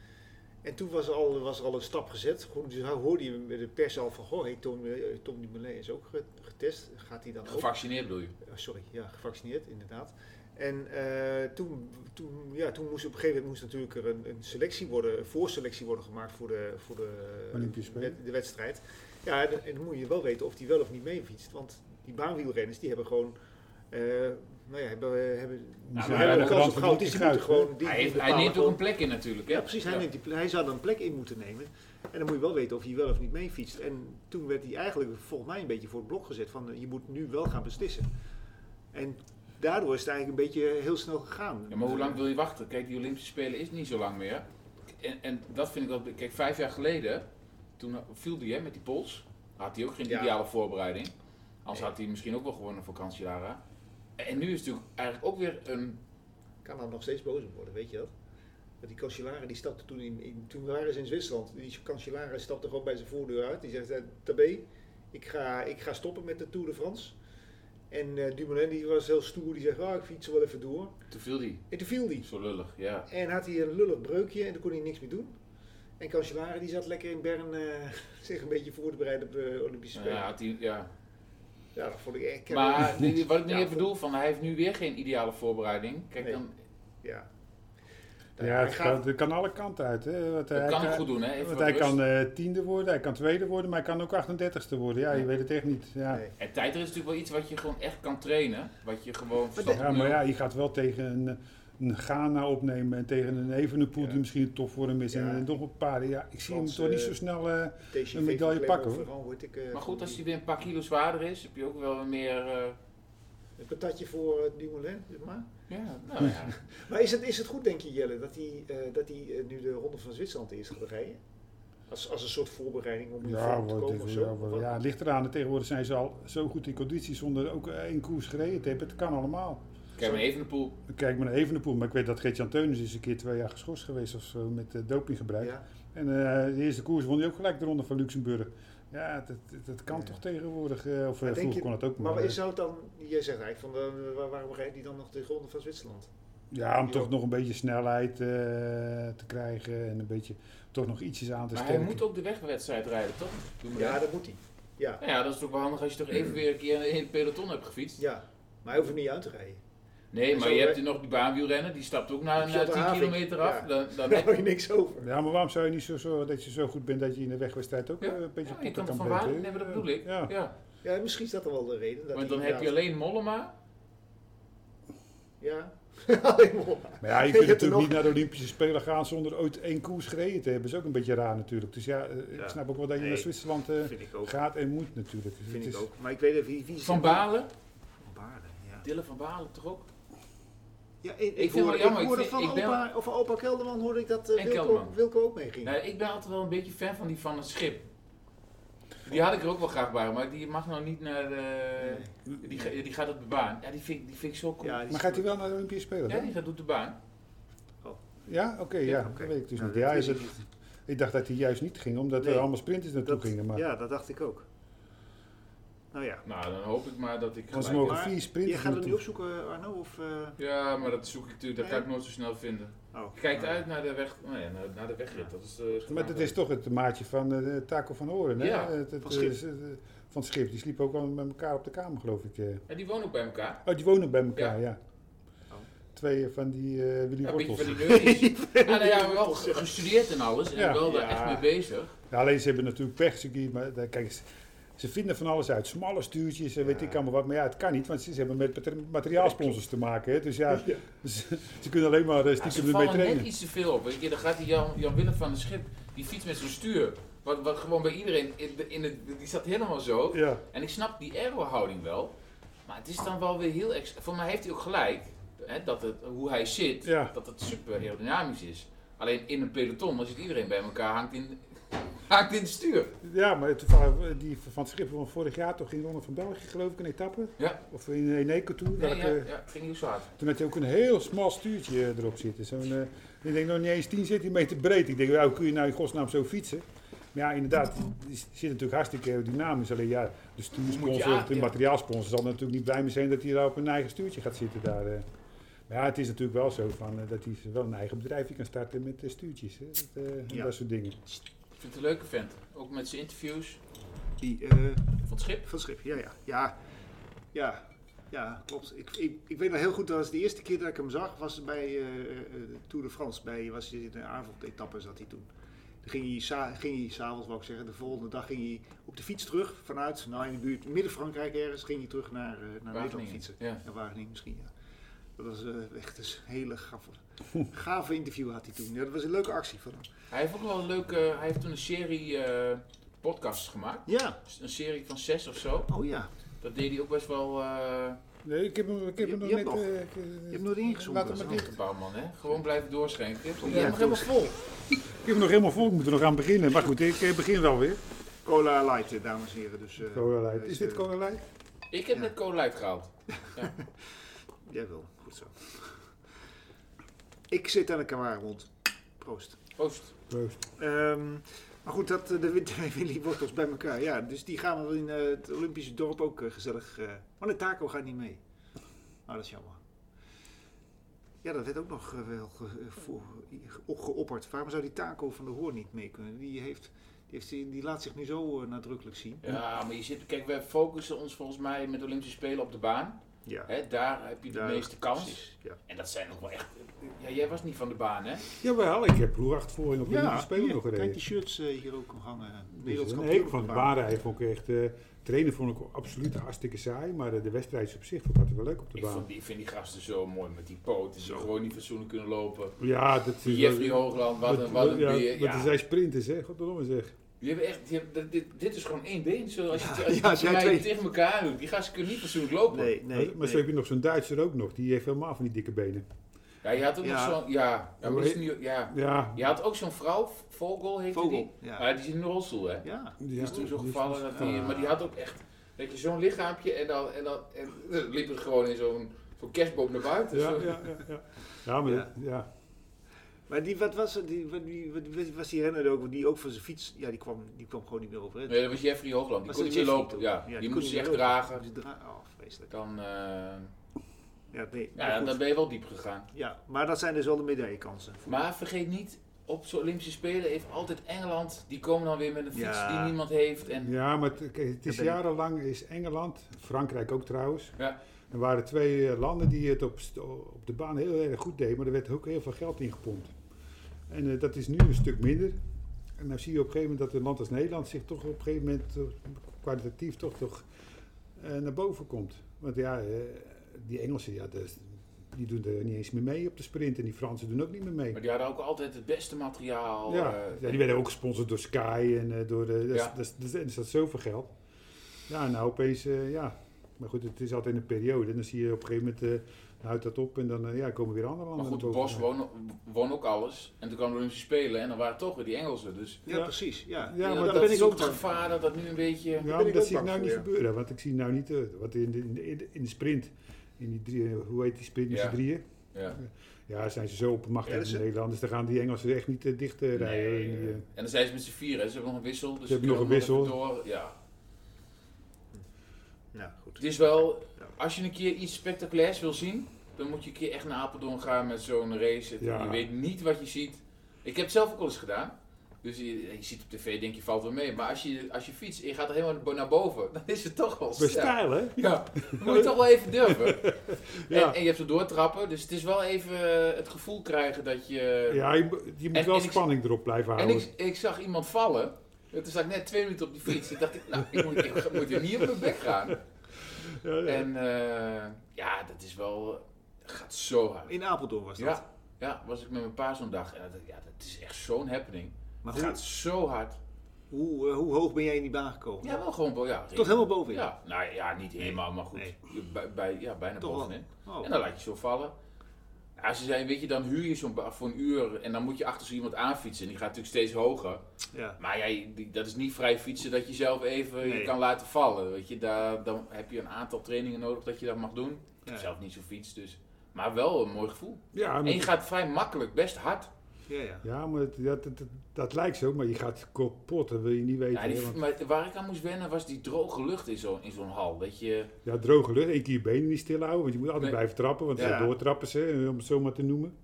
A: En toen was er al, was er al een stap gezet. Goed, dus hij hoorde je met de pers al van, goh, hey, Tom, eh, Tom Dumoulin is ook ge- getest. Gaat hij dan ook?
B: Gevaccineerd bedoel je.
A: Oh, sorry, ja, gevaccineerd, inderdaad. En eh, toen, toen, ja, toen moest op een gegeven moment moest natuurlijk er een, een selectie worden, een voorselectie worden gemaakt voor de, voor de,
C: Olympische Spelen.
A: wed- de wedstrijd. Ja, en, en dan moet je wel weten of die wel of niet mee fietst. Want die baanwielrenners die hebben gewoon. eh, nou ja, hebben, hebben,
C: Nou, maar
A: ze
B: hij
A: hebben
B: heeft
A: een
C: wel
A: kans op
C: van
A: goud,
C: die
A: dus die moeten
C: schuif, hè?
A: gewoon... Die,
B: Hij,
A: die
B: heeft, hij
A: bepalen
B: neemt ook
A: gewoon-
B: een plek in natuurlijk. Hè?
A: Ja, precies, hij,
B: Ja.
A: Neemt die, plek- hij zou dan een plek in moeten nemen. En dan moet je wel weten of hij wel of niet mee fietst. En toen werd hij eigenlijk volgens mij een beetje voor het blok gezet van eh, je moet nu wel gaan beslissen. En daardoor is het eigenlijk een beetje eh, heel snel gegaan.
B: Ja, maar hoe lang wil je wachten? Kijk, die Olympische Spelen is niet zo lang meer. En, en dat vind ik wel. Kijk, vijf jaar geleden, toen viel die hè, met die pols. Had hij ook geen
A: Ja.
B: ideale voorbereiding. Anders had hij misschien ook wel gewonnen voor Cancellara. En nu is het natuurlijk eigenlijk ook weer een.
A: Kan dan nog steeds boos om worden, weet je dat? Want die kanselaren die stapte toen in, in- toen waren ze in Zwitserland. Die kanselaren stapte gewoon bij zijn voordeur uit. Die zegt, eh, Tabé, ik ga, ik ga stoppen met de Tour de France. En eh Dumoulin die was heel stoer, die zegt, ah ik fiets er wel even door.
B: Toen viel die.
A: En toen viel die.
B: Zo lullig, ja.
A: En had hij een lullig breukje en daar kon hij niks meer doen. En Cancellara die zat lekker in Bern eh, zich een beetje voor te bereiden op de Olympische Spelen.
B: Ja,
A: Ja,
B: had hij, ja.
A: dat vond ik echt...
B: Maar eh, die- wat ik nu
A: Ja,
B: even
A: voor-
B: bedoel, van, hij heeft nu weer geen ideale voorbereiding. Kijk,
A: Nee.
B: dan,
A: Ja,
C: ja,
A: hij
C: het kan, het kan alle kanten uit. Hè, want
B: dat
C: hij
B: kan het goed doen, hè? Even
C: Want
B: wat
C: hij
B: rust.
C: kan eh, tiende worden, hij kan tweede worden, maar hij kan ook 38ste worden. Ja, je weet het echt niet. Ja,
A: Nee.
B: En tijdrit is natuurlijk wel iets wat je gewoon echt kan trainen. Wat je gewoon verstand
C: ja maar ja, je gaat wel tegen een, een Ghana opnemen en tegen een Evenepoel
A: Ja.
C: die misschien topvorm is
A: Ja.
C: en nog een paar. Ja, ik zie hem
A: Frans,
C: toch niet
A: eh,
C: zo snel... eh,
A: TCV
C: Een medaille
A: van
C: pakken,
A: Clermont-Ferrand word ik, eh,
B: Maar goed, als
A: die-
B: hij weer een paar kilo zwaarder is, heb je ook wel weer meer. eh,
A: Een patatje voor eh, Dumoulin, zeg maar.
B: ja, nou ja.
A: Maar is het, is het goed, denk je Jelle, dat hij, eh, dat hij eh, nu de Ronde van Zwitserland eerst gaat rijden? Als, als een soort voorbereiding om in
C: Ja,
A: vorm te
C: wordt
A: komen
C: dit-
A: of
C: ja,
A: zo?
C: wordt-
A: Wat-
C: ja, het ligt eraan. Tegenwoordig zijn ze al zo goed in conditie zonder ook eh, één koers gereden te hebben. Het kan allemaal.
B: Kijk maar even de poel.
C: Kijk maar naar Evenepoel, maar ik weet dat Geert-Jan Teunis is een keer twee jaar geschorst geweest of zo met eh, dopinggebruik.
A: Ja.
C: En eh, de eerste koers won hij ook gelijk de ronde van Luxemburg. Ja, dat, dat- dat kan
A: Ja.
C: toch tegenwoordig, eh, of eh,
A: denk
C: vroeger
A: je-
C: kon het ook. Maar,
A: Maar
C: eh,
A: is zou het dan, jij zegt eigenlijk, van, eh, waar- waarom rijdt die dan nog de ronde van Zwitserland?
C: ja, om
A: Ja.
C: toch nog een beetje snelheid eh, te krijgen en een beetje, toch nog ietsjes aan te
B: Maar hij
C: sterken.
B: moet ook de wegwedstrijd rijden, toch? Doe maar
A: Ja,
B: dat.
A: dat moet hij. Ja,
B: Nou ja, dat is toch wel handig als je toch even weer een keer een hele peloton hebt gefietst.
A: ja. Maar hij hoeft er niet uit te rijden.
B: Nee,
A: En
B: maar
A: zo
B: je hebt
A: weg-
B: nog die baanwielrenner, die stapt ook na,
A: Op
B: na 10
A: Schattenhavik.
B: kilometer af.
A: Ja.
B: Dan, dan
A: Daar hou je niks over.
C: Ja, maar waarom zou je niet zo zorgen dat je zo goed bent dat je in de wegwedstrijd ook
B: Ja.
C: eh, een beetje
B: Ja,
C: potten
B: je kan
C: kan
B: het van
C: breken?
B: waar, nee, maar dat bedoel ik.
C: Ja.
B: Ja.
A: Ja, misschien is dat dan wel de reden. Dat hij
B: Want dan heb je
A: inderdaad-
B: alleen Mollema.
A: Ja, alleen maar.
C: Maar ja, je
A: Je
C: kunt
A: hebt er
C: natuurlijk
A: nog-
C: niet naar de Olympische Spelen gaan zonder ooit één koers gereden te hebben. is ook een beetje raar natuurlijk. Dus ja, eh,
A: Ja.
C: ik snap ook wel dat je
A: Nee.
C: naar Zwitserland eh,
A: Vind ik ook.
C: gaat en moet natuurlijk. Dus Het
A: Vind ik
C: is-
A: ook. Maar ik weet even wie... wie
B: Van Balen.
A: Van Baarden, ja.
B: Dylan van Balen toch ook?
A: Ja, ik, ik,
B: vind
A: hoorde,
B: wel jammer,
A: ik hoorde
B: ik vind-
A: van
B: ik ben-
A: opa, of van opa Kelderman hoorde ik dat eh,
B: En
A: Wilco,
B: Kelderman.
A: Wilco ook meeging.
B: Nou, ik ben altijd wel een beetje fan van die van het schip. Die had ik er ook wel graag bij, maar die mag nou niet naar de... Die, ga- die gaat op de baan. Ja, die vind, ik- die vind ik zo cool.
A: Ja,
B: Ja,
A: die-
C: Maar gaat hij wel naar de Olympische Spelen? dan?
B: die gaat op de baan.
C: Ja, oké, ja.
A: oké.
C: Dat weet ik dus
A: Nou,
C: niet.
A: dat
C: Ja,
A: wist
C: is
A: ik
C: het-
A: niet.
C: ik dacht dat hij juist niet ging, omdat
A: Nee.
C: er allemaal sprinters naartoe
A: Dat-
C: gingen. Maar,
A: Ja, dat dacht ik ook. Nou ja.
B: Nou, dan hoop ik maar dat ik
C: Want ze
B: gelijk
C: mogen
B: heb.
A: Maar
C: vier
A: Je
C: sprinters
A: gaat het nu
C: naartoe.
A: opzoeken, Arno? Of, eh,
B: Ja, maar dat zoek ik natuurlijk, dat kan ik nooit zo snel vinden.
A: oh.
B: Je kijkt
A: Nou,
B: uit naar de, weg, nou ja, naar, naar de wegrit, dat is... eh,
C: Maar dat is toch het maatje van eh Taco van Horen, hè?
B: Ja,
C: Het- het-
A: van Schip.
C: is, eh, van het schip. Die sliepen ook wel met elkaar op de kamer, geloof ik. eh.
B: En die wonen ook bij elkaar.
C: Oh, die wonen bij elkaar, ja.
A: Oh.
C: Twee van die eh Willy
B: Ja, een beetje
C: Wortels.
B: van die neurtjes. ja, nou ja, wel ge- gestudeerd en alles en
C: Ja.
B: wel daar
A: Ja.
B: echt mee bezig.
C: Ja, alleen ze hebben natuurlijk pech, ze kie- maar daar- kijk eens. Ze vinden van alles uit, smalle stuurtjes en weet
A: Ja.
C: ik allemaal wat. Maar ja, het kan niet, want ze ze hebben met mater- materiaalsponsors te maken. Hè. Dus ja, ze, ze kunnen alleen maar eh,
B: Ja,
C: stiekem
B: ze
C: ermee
B: vallen net
C: trainen.
B: iets te veel op. Weet je, dan gaat die Jan, Jan Willem van de Schip, die fiets met zijn stuur. Wat, wat gewoon bij iedereen, in de, in het, die zat helemaal zo.
C: Ja,
B: En ik snap die aero-houding wel, maar het is dan wel weer heel extra. Voor mij heeft hij ook gelijk, hè, dat het, hoe hij zit,
C: Ja.
B: dat het super aerodynamisch is. Alleen in een peloton, dan zit iedereen bij elkaar, hangt in, hangt in het stuur.
C: ja maar toevallig eh, die van het schip van vorig jaar toch in de Ronde van België, geloof ik, een etappe.
B: Ja.
C: Of in een Eco-tour.
B: Nee, ja,
C: welke-
B: ja, ging niet zo hard.
C: Toen had je ook een heel smal stuurtje eh, erop zitten. Zo'n, eh, ik denk nog niet eens 10 centimeter breed. Ik denk, nou, kun je nou in godsnaam zo fietsen? Maar ja, inderdaad, die zit natuurlijk hartstikke aerodynamisch. Alleen ja, de
B: Moet je
C: stuursponsor,
B: aan-
C: of de
B: ja.
C: materiaalsponsor zal er natuurlijk niet blij mee zijn dat hij daar op een eigen stuurtje gaat zitten. Daar, eh. Maar ja, het is natuurlijk wel zo van, eh, dat hij wel een eigen bedrijfje kan starten met eh, stuurtjes. Hè? Dat, eh, en
A: Ja.
C: dat soort dingen.
B: Ik vind het een leuke vent. Ook met zijn interviews
A: Die, eh,
B: van het schip.
A: Van Schip, ja, ja. Ja, ja, ja klopt. Ik, ik, ik weet nog heel goed, dat was de eerste keer dat ik hem zag, was bij eh, eh, de Tour de France. Bij, was hij in de avondetappe zat hij toen. Dan ging hij, sa- ging hij s'avonds, wou ik zeggen, de volgende dag ging hij op de fiets terug vanuit, nou in de buurt Midden-Frankrijk ergens, ging hij terug naar, eh, naar Nederland
B: Wageningen.
A: fietsen.
B: Ja.
A: Naar Wageningen misschien, ja. Dat was eh, echt een hele gave, gave interview had hij toen. Ja, dat was een leuke actie van hem.
B: Hij heeft ook wel een leuke, hij heeft toen een serie eh, podcasts gemaakt.
A: Ja,
B: Een serie van zes of zo.
A: oh ja.
B: Dat deed hij ook best wel... eh,
C: Nee, ik heb hem, ik heb
A: Je-
C: hem nog
A: je
C: net...
A: hebt nog-
C: eh, ik, eh,
A: Je hebt nooit ingezoomd.
C: Laat hem
A: Bas.
C: maar dicht.
B: Bouwman, hè? Gewoon blijven doorschenken. Ik heb
A: Ja,
B: nog helemaal vol.
C: ik heb hem nog helemaal vol, ik moet er nog aan beginnen. Maar goed, ik eh, begin wel weer.
A: Cola light, eh, dames en heren. Dus, eh,
C: Cola Light.
A: eh,
C: Is dit
A: eh,
C: Cola Light?
B: Ik heb
A: Ja.
B: net cola light gehaald.
A: Jij wil, goed zo. Ik zit aan de kamerhond. Proost.
B: Proost.
C: Proost.
A: Ehm, maar goed, dat, eh, de win- de Willy Wortels bij elkaar. Ja, dus die gaan we in eh, het Olympische dorp ook eh, gezellig. eh maar de taco gaat niet mee. Nou, dat is jammer. Ja, dat werd ook nog eh, wel ge- eh, voor, ge- opgeopperd. Waarom zou die taco van de Hoorn niet mee kunnen? Die, heeft, die, heeft, die laat zich nu zo eh, nadrukkelijk zien.
B: Ja, maar je zit, kijk, wij focussen ons volgens mij met Olympische Spelen op de baan.
A: Ja,
B: Hè, daar heb je de
A: Daar-
B: meeste kans.
A: precies. Ja.
B: En dat zijn nog wel echt. Ja, jij was niet van de baan, hè?
C: Jawel, ik heb roeracht voor in op de Olympische Spelen
A: hier,
C: nog gereden.
A: kijk die shirts eh, hier ook hangen. Nederlands
C: Dus,
A: kampioen
C: nee, van de
A: op de baan.
C: baanrijden vond ik echt... eh, trainen vond ik absoluut hartstikke saai, maar eh, de wedstrijd op zich vond ik altijd wel leuk op de
B: Ik,
C: baan.
B: vond, die- ik vind die gasten zo mooi met die poten. Ze
A: Zo.
B: gewoon niet fatsoenlijk kunnen lopen.
C: Ja, dat is...
B: Jeffrey Hoogland, wat een, wat een
C: ja,
B: beer.
C: want er
B: Ja.
C: zijn sprinters, hè. Godverdomme zeg.
B: Die hebben echt, die hebben- dit, dit is gewoon één been. Zo, als je, als
A: ja, als
B: je
A: jij
B: mij
A: twee-
B: tegen elkaar doet, die gasten kunnen niet fatsoenlijk lopen.
A: Nee,
C: maar
A: nee.
C: maar
A: nee.
C: zo heb je nog zo'n Duitser ook nog, die heeft helemaal van die dikke benen.
B: Ja, je had ook
A: Ja.
B: nog zo'n. Ja, ja, maar dat is niet, ja.
C: Ja.
B: Je had ook zo'n vrouw, Vogel heette die.
A: Vogel. Ja.
B: Ah, die zit in de rolstoel, hè?
A: ja.
C: Die
B: Die is toen zo gevallen, dat die,
A: Ah.
B: maar die had ook echt weet je, zo'n lichaampje en dan, en dan en, eh, liep het gewoon in zo'n zo'n Voor kerstboom naar buiten.
C: Ja,
B: zo.
C: ja, ja, ja. ja maar
A: Ja.
C: dat- ja.
A: Maar die, wat was het? Die, wat- die, wat- wat was die renner ook? Die ook van zijn fiets, ja, die kwam, die kwam gewoon niet meer overheen.
B: Nee, dat was Jeffrey Hoogland. Die
A: Was
B: kon
A: dat
B: niet meer
A: Jeffrey
B: lopen.
A: toen?
B: Ja, die,
A: kon
B: moest
A: niet
B: zich
A: meer lopen.
B: dragen.
A: Die dra- oh, vreselijk.
B: Dan, eh,
A: Ja, nee, maar
B: ja,
A: goed.
B: dan ben je wel diep gegaan.
A: ja, maar dat zijn dus wel de medaillekansen.
B: Maar vergeet niet, op zo'n Olympische Spelen heeft altijd Engeland. Die komen dan weer met een fiets
A: Ja.
B: die niemand heeft. En
C: Ja, maar het, kijk, het is
A: Daar ben ik.
C: jarenlang is Engeland, Frankrijk ook trouwens.
B: Ja.
C: Er waren twee eh, landen die het op, st- op de baan heel erg goed deden, maar er werd ook heel veel geld ingepompt. En eh, dat is nu een stuk minder. En dan zie je op een gegeven moment dat een land als Nederland zich toch op een gegeven moment eh, kwalitatief toch, toch eh, naar boven komt. Want ja, eh, die Engelsen, ja, dat- die doen er niet eens meer mee op de sprint en die Fransen doen ook niet meer mee.
B: Maar die hadden ook altijd het beste materiaal.
C: Ja,
B: eh,
C: ja, die werden ook gesponsord door Sky en eh, door. eh, dat,
B: Ja.
C: dat, dat, er zat zoveel geld. Ja, nou opeens, eh, ja. Maar goed, het is altijd een periode. En dan zie je op een gegeven moment, eh houdt dat op en dan eh, ja, komen weer andere
B: maar
C: landen.
B: goed,
C: naar
B: Bos
C: boven.
B: won, won ook alles. En toen kwam de Olympische Spelen en dan waren het toch weer die Engelsen. Dus
A: Ja,
C: Ja.
A: precies. Ja,
C: Ja, maar
B: dat,
A: daar ben ik
B: is
A: ook
B: het
A: bang voor.
B: gevaar dat dat nu een beetje...
C: Ja,
A: ben
C: maar
A: ik
C: dat
A: ook
C: zie ik
A: bang
C: nou niet
A: voor, ja.
C: gebeuren. Want ik zie nou niet, eh, wat in de, in de, in de sprint, in die drie, eh, hoe heet die sprint met
B: Ja.
C: z'n drieën?
B: Ja.
C: Ja, zijn ze zo opmachtig
A: Ja, dat
C: in
A: is-
C: Nederland. Dus dan gaan die Engelsen echt niet eh, dicht eh, rijden.
B: Nee,
C: En die, eh,
B: en dan zijn ze met z'n vier, hè. ze hebben nog een wissel. Dus
C: Ze hebben nog een
B: kunnen
C: wissel.
B: nog even Door. Ja.
A: Nou, goed.
B: Het is wel, als je een keer iets spectaculairs wil zien, dan moet je een keer echt naar Apeldoorn gaan met zo'n race.
C: Ja.
B: Je weet niet wat je ziet. Ik heb het zelf ook al eens gedaan. Dus je, je ziet op tv, denk je valt wel mee. Maar als je, als je fietst en je gaat er helemaal bo- naar boven, dan is het toch wel
C: bij
B: sterk.
C: stijl, hè?
B: Ja, dan moet je toch wel even durven.
C: Ja.
B: en, en je hebt het doortrappen, dus het is wel even eh, het gevoel krijgen dat je...
C: Ja, je, moet- je moet
B: En-
C: wel
B: en ik-
C: spanning erop blijven
B: En
C: houden.
B: ik, ik zag iemand vallen. En Toen zat ik net twee minuten op die fiets. Toen dacht ik, nou, ik moet, ik moet er niet op mijn bek gaan.
C: Ja, ja.
B: En eh, ja, dat is wel... Het gaat zo hard.
A: In Apeldoorn was dat.
B: Ja, ja, was ik met mijn pa zo'n dag. En dat, ja, dat is echt zo'n happening.
A: Maar
B: Het
A: hoe,
B: gaat zo hard.
A: hoe, eh, hoe hoog ben jij in die baan gekomen?
B: Ja, wel gewoon... wel, Ja,
A: Tot helemaal bovenin?
B: Ja, nou ja, niet helemaal, maar goed.
A: Nee.
B: Bij, bij, ja, bijna
A: Toch wel.
B: bovenin.
A: Oh.
B: En dan laat je zo vallen. Ja, ze zei, weet je, dan huur je zo'n ba- voor een uur en dan moet je achter zo iemand aanfietsen. En die gaat natuurlijk steeds hoger.
A: Ja.
B: Maar ja, je- die- dat is niet vrij fietsen dat je zelf even
A: Nee.
B: je kan laten vallen. Weet je, daar, dan heb je een aantal trainingen nodig dat je dat mag doen. Ik heb
A: Ja.
B: zelf niet zo fiets, dus. Maar wel een mooi gevoel.
C: Ja, maar-
B: En je gaat vrij makkelijk, best hard.
A: Ja, ja.
C: Ja, maar het- dat, dat, dat, dat lijkt zo, maar je gaat kapot, dat wil je niet weten. hè,
B: Ja, die-
C: want-
B: maar waar ik aan moest wennen was die droge lucht in zo'n in zo'n hal. Weet je,
C: ja, droge lucht, één keer je benen niet stil houden, want je moet altijd
B: Nee.
C: blijven trappen, want
A: Ja.
C: ze doortrappen ze, eh, om het zo maar te noemen.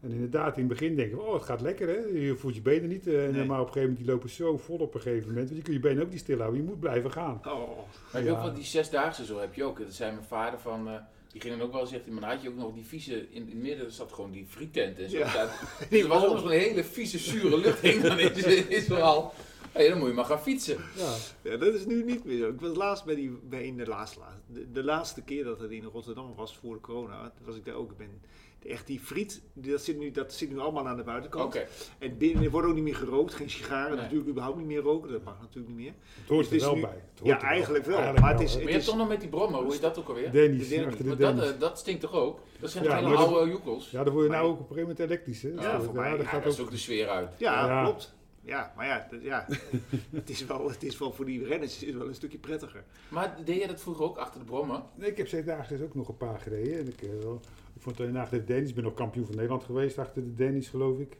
C: En inderdaad, in het begin denken we, oh, het gaat lekker hè, je voelt je benen niet. eh,
A: Nee.
C: Maar op een gegeven moment, die lopen zo vol op een gegeven moment, want je kunt je benen ook niet stil houden, je moet blijven gaan.
A: Oh.
B: Maar je hebt
C: Ja.
B: ook wel die zesdaagse zo heb je ook. Dat zei mijn vader van. eh, die ging dan ook wel eens echt. Maar dan had je ook nog die vieze. In het midden zat gewoon die frietent en zo.
A: Ja.
B: Daar- dus er was ook nog zo'n hele vieze, zure lucht. hing dan in Is- Israël. Hé, dan moet je maar gaan fietsen.
C: Ja,
A: Ja, dat is nu niet meer zo. Ik was laatst bij, die, bij in de, laatste, laatste- de, de laatste keer dat het in Rotterdam was voor de corona, toen was ik daar ook. Ik ben echt die friet, die- dat zit nu, dat zit nu allemaal aan de
B: Oké.
A: buitenkant. En binnen er wordt ook niet meer gerookt, geen sigaren,
B: Nee.
A: natuurlijk überhaupt niet meer roken, dat mag natuurlijk niet meer.
C: het hoort
A: Het
C: er
A: is
C: wel
A: nu-
C: bij. Het hoort
A: ja,
C: er wel.
A: eigenlijk wel,
C: Eigenlijk
A: maar het is-
B: Maar
C: hè.
B: je hebt toch nog met die brommer. Hoe is dat ook alweer?
A: de
C: Dennis,
A: derde-
C: achter de
B: Want
C: Dennis.
B: dat, eh, dat stinkt toch ook? Dat zijn
C: Ja,
B: toch hele
C: maar dat-
B: oude joekels? Ja,
C: ja, dan word je nou
A: Maar-
C: ook op een gegeven moment elektrisch hè.
A: Ja, voor mij.
C: dat
B: dat
C: gaat
B: is
C: ook...
B: ook de sfeer uit.
A: Ja,
C: Ja.
A: klopt. Ja, maar ja, dat- ja. het, is wel, het is wel voor die renners is het wel een stukje prettiger.
B: Maar deed je dat vroeger ook achter de brommer?
C: Nee, ik heb zesdaagse ook nog een paar gereden. En ik, eh, wel- ik vond het achter de Dennis. Ik ben nog kampioen van Nederland geweest achter de Dennis, geloof ik.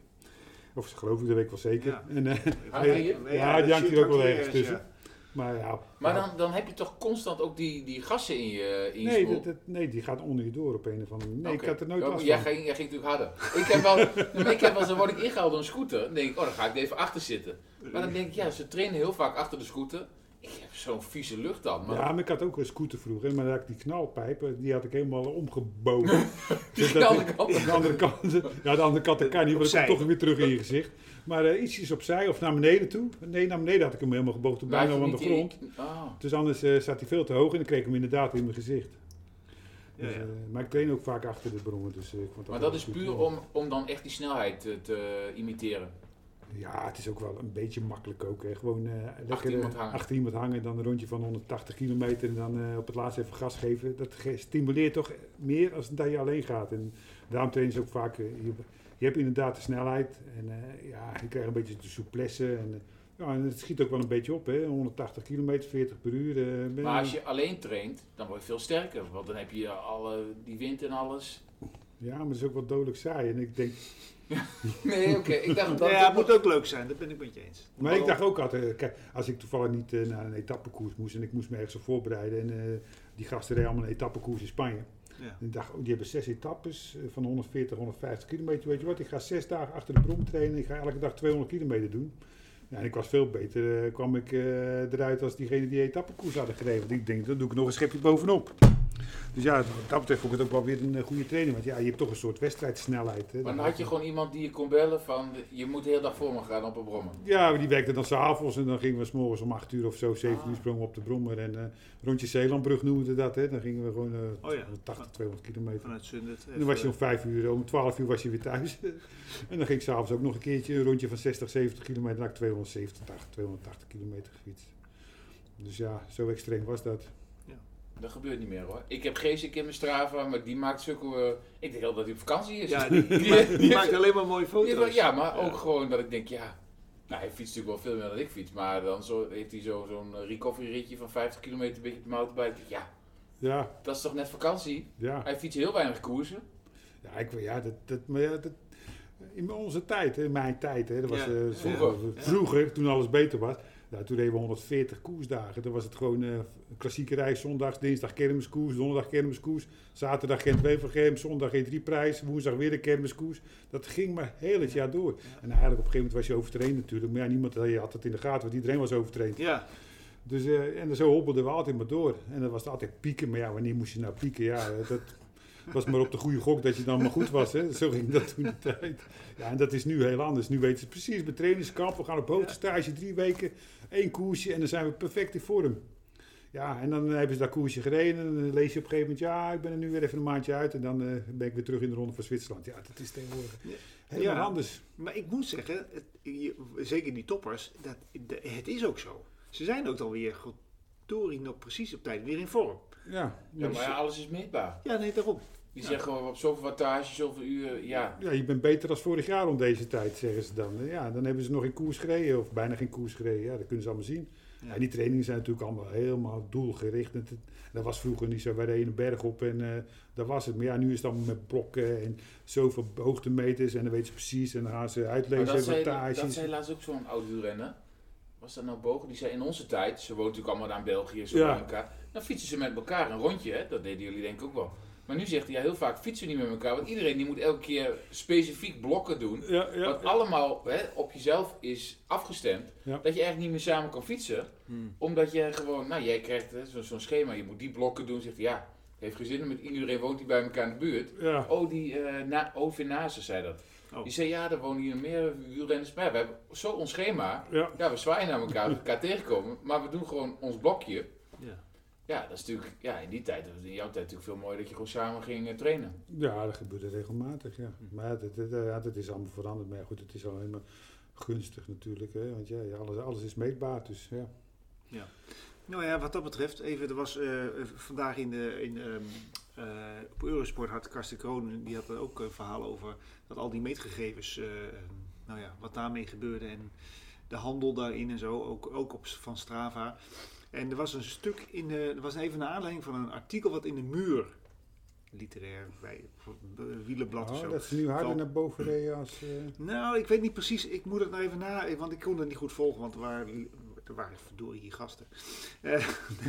C: Of geloof ik, dat weet ik wel zeker.
A: Ja.
C: En, eh,
B: Hangt hij hier?
A: Nee,
C: Ja,
A: dat
C: die hangt
A: zit
C: hier ook wel
A: weer
C: ergens tussen.
A: ja.
C: maar ja.
B: Maar dan, dan heb je toch constant ook die, die gassen in je, in je
C: Nee,
B: smoel?
C: dat, dat- nee, die gaat onder je door op een of andere manier. Nee,
B: Oké.
C: ik had er nooit
B: Ja,
C: last
B: Jij
C: van.
B: ging, jij ging natuurlijk harder. Ik heb wel, maar ik heb wel, eens- dan word ik ingehaald door een scooter. Dan denk ik, oh, dan ga ik er even achter zitten. Maar dan denk ik, ja, ze trainen heel vaak achter de scooter. Ik heb zo'n vieze lucht dan. Maar
C: Ja, maar ik had ook een scooter vroeger. Maar dan had ik die knalpijpen, die had ik helemaal omgebogen. Dus
B: de
C: dat-
B: andere kant.
C: De andere kant, ja, de andere kant dat kan niet, want
A: Opzij.
C: dat komt toch weer terug in je gezicht. Maar eh, ietsjes opzij of naar beneden toe. Nee, naar beneden had ik hem helemaal gebogen, tot bijna aan de grond.
B: Ah.
C: Dus anders eh zat hij veel te hoog en dan kreeg ik hem inderdaad in mijn gezicht.
A: Ja,
C: Dus,
A: ja.
C: eh, maar ik train ook vaak achter de brommen. Dus, eh, ik vond dat
B: Maar
C: wel
B: dat is
C: goed.
B: puur om, om dan echt die snelheid te, te imiteren.
C: Ja, het is ook wel een beetje makkelijk ook. Hè. Gewoon eh, lekker
B: Achter iemand
C: eh,
B: hangen.
C: achter iemand hangen, dan een rondje van 180 kilometer en dan eh, op het laatst even gas geven. Dat ge- stimuleert toch meer als dat je alleen gaat. En daarom trainen ze ook vaak. eh, je, je hebt inderdaad de snelheid en eh, ja, je krijgt een beetje de souplesse en eh, Ja, en het schiet ook wel een beetje op, hè? 180 kilometer, 40 per uur. eh, ben-
B: Maar als je alleen traint, dan word je veel sterker. Want dan heb je alle, die wind en alles.
C: Ja, maar het is ook wel dodelijk saai. En ik denk,
B: Nee, oké. Ik dacht dat...
A: ja, het moet ook leuk zijn, dat ben ik met je eens.
C: maar
B: Oh.
C: ik dacht ook altijd, eh, kijk, als ik toevallig niet eh, naar een etappekoers moest en ik moest me ergens op voorbereiden en eh, die gasten reden allemaal een etappekoers in Spanje.
A: Ja.
C: En ik dacht, oh, die hebben zes etappes eh, van 140, 150 kilometer. Weet je wat, ik ga zes dagen achter de brom trainen. Ik ga elke dag 200 kilometer doen. Ja, en ik was veel beter, eh, kwam ik eh, eruit als diegene die etappekoers hadden gereden. Want ik denk, dan doe ik nog een schepje bovenop. Dus ja, wat dat betreft vond ik het ook wel weer een eh, goede training. Want ja, je hebt toch een soort wedstrijdsnelheid. Hè.
B: Maar dan had je gewoon iemand die je kon bellen van... Je moet de hele dag voor me gaan op een brommer.
C: Ja, maar die werkte dan s'avonds en dan gingen we s'morgens om 8 uur of zo, 7
A: Ah.
C: uur sprongen we op de Brommer. En eh, rondje Zeelandbrug noemden we dat, hè. Dan gingen we gewoon eh,
A: Oh ja.
C: 80, 200 kilometer.
A: Vanuit Zundert.
C: En dan was je om 5 uur, om 12 uur was je weer thuis. en dan ging ik s'avonds ook nog een keertje een rondje van 60, 70 kilometer, naar 270, 280 kilometer gefietst. Dus ja, zo extreem was dat.
B: Dat gebeurt niet meer hoor. Ik heb Geesik in mijn Strava, maar die maakt zulke... eh, ik denk wel dat hij op vakantie is.
A: Ja, die, die maakt, die maakt alleen maar mooie
B: Ja, maar-
A: foto's.
B: ja, maar ook gewoon dat ik denk, ja... Nou, hij fietst natuurlijk wel veel meer dan ik fiets. Maar dan zo, heeft hij zo- zo'n recovery ritje van 50 kilometer een beetje op de mountainbike. Ja,
C: Ja,
B: dat is toch net vakantie?
C: ja.
B: Hij fietst heel weinig koersen.
C: Ja, ik, wil- ja, dat, dat, maar ja, dat, in onze tijd, hè, in mijn tijd, hè, dat was,
A: Ja,
C: eh,
B: vroeger.
C: eh, vroeger, toen alles beter was. Nou, toen deden we 140 koersdagen. Dan was het gewoon eh, klassieke reis, zondag, dinsdag kermiskoers, donderdag kermiskoers, zaterdag gent wevergem zondag E3-prijs, woensdag weer de kermiskoers. Dat ging maar heel het jaar door. En eigenlijk op een gegeven moment was je overtraind natuurlijk, maar ja, niemand had het in de gaten, want iedereen was overtraind.
A: Ja,
C: Dus, eh, en zo hobbelden we altijd maar door. En dat was het altijd pieken. Maar ja, wanneer moest je nou pieken? Ja, eh, dat was maar op de goede gok dat je dan maar goed was. Hè. Zo ging dat toen de tijd. Ja, en dat is nu heel anders. Nu weten ze precies, bij trainingskamp, we gaan op hoogtestage drie weken, één koersje en dan zijn we perfect in vorm. Ja, en dan eh, hebben ze dat koersje gereden en dan lees je op een gegeven moment, ja, ik ben er nu weer even een maandje uit en dan eh, ben ik weer terug in de ronde van Zwitserland. Ja, dat is tegenwoordig
A: Ja.
C: helemaal
A: Ja.
C: anders.
A: maar ik moet zeggen, het, je- zeker die toppers, dat, de- het is ook zo. Ze zijn ook alweer, Tori nog precies op tijd weer in vorm.
C: Ja,
B: Ja, maar ja, alles is meetbaar.
A: Ja, nee, daarom.
B: Dus- Die
A: Ja.
B: zeggen gewoon op zoveel wattage, zoveel uren, ja.
C: Ja, je bent beter als vorig jaar om deze tijd, zeggen ze dan. Ja, dan hebben ze nog geen koers gereden of bijna geen koers gereden. Ja, dat kunnen ze allemaal zien.
A: Ja.
C: En die trainingen zijn natuurlijk allemaal helemaal doelgericht. En dat- Dat was vroeger niet zo. Wij reden een berg op en eh dat was het. Maar ja, nu is het allemaal met blokken en zoveel hoogtemeters. En dan weten ze precies en dan gaan ze
B: Maar
C: uitlezen,
B: dat zei, dat
C: wattages.
B: zei laatst ook zo'n oud wielrenner. Was dat nou Bogen? Die zei in onze tijd, ze woont natuurlijk allemaal daar in België, zo
C: Ja.
B: bij elkaar. Dan fietsen ze met elkaar een rondje, hè? dat deden jullie denk ik ook wel. Maar nu zegt hij, ja, heel vaak fietsen we niet met elkaar, want iedereen die moet elke keer specifiek blokken doen.
C: Ja, ja,
B: wat allemaal hè, op jezelf is afgestemd,
C: Ja.
B: dat je eigenlijk niet meer samen kan fietsen.
A: Hmm,
B: Omdat je gewoon, nou jij krijgt hè, zo- zo'n schema, je moet die blokken doen, zegt hij, ja, heeft geen zin, want iedereen woont hier bij elkaar in de buurt.
C: ja.
B: Oh, die eh na, Ovenazen zei dat.
A: Oh.
B: Die zei, ja, er wonen hier meer wielrenners bij. We hebben zo ons schema.
C: ja.
B: Ja, we zwaaien naar elkaar, we elkaar tegenkomen. Maar we doen gewoon ons blokje.
A: Ja.
B: Ja, dat is natuurlijk, ja, in die tijd, in jouw tijd natuurlijk veel mooier dat je gewoon samen ging eh, trainen.
C: Ja, dat gebeurde regelmatig, ja.
B: Hm.
C: Maar ja, dat, dat, eh, ja, dat is allemaal veranderd. Maar ja, goed, het is alleen maar gunstig natuurlijk. Hè? Want ja, ja, alles, alles is meetbaar, dus ja.
A: Nou ja, wat dat betreft, even, er was eh, vandaag in de, in, ehm, eh, op Eurosport had Karsten Kroon, die had er ook een verhaal over dat al die meetgegevens, eh, nou ja, wat daarmee gebeurde en de handel daarin en zo, ook, ook op, s- van Strava. En er was een stuk in, de, er was even naar aanleiding van een artikel wat in de muur, literair, bij bij wielenblad of
C: Oh,
A: zo.
C: dat ze nu harder
A: Val-
C: naar boven reden als... eh,
A: Nou, ik weet niet precies. Ik moet het nou even na, want ik kon het niet goed volgen, want er waren, er waren verdorie hier gasten. Eh,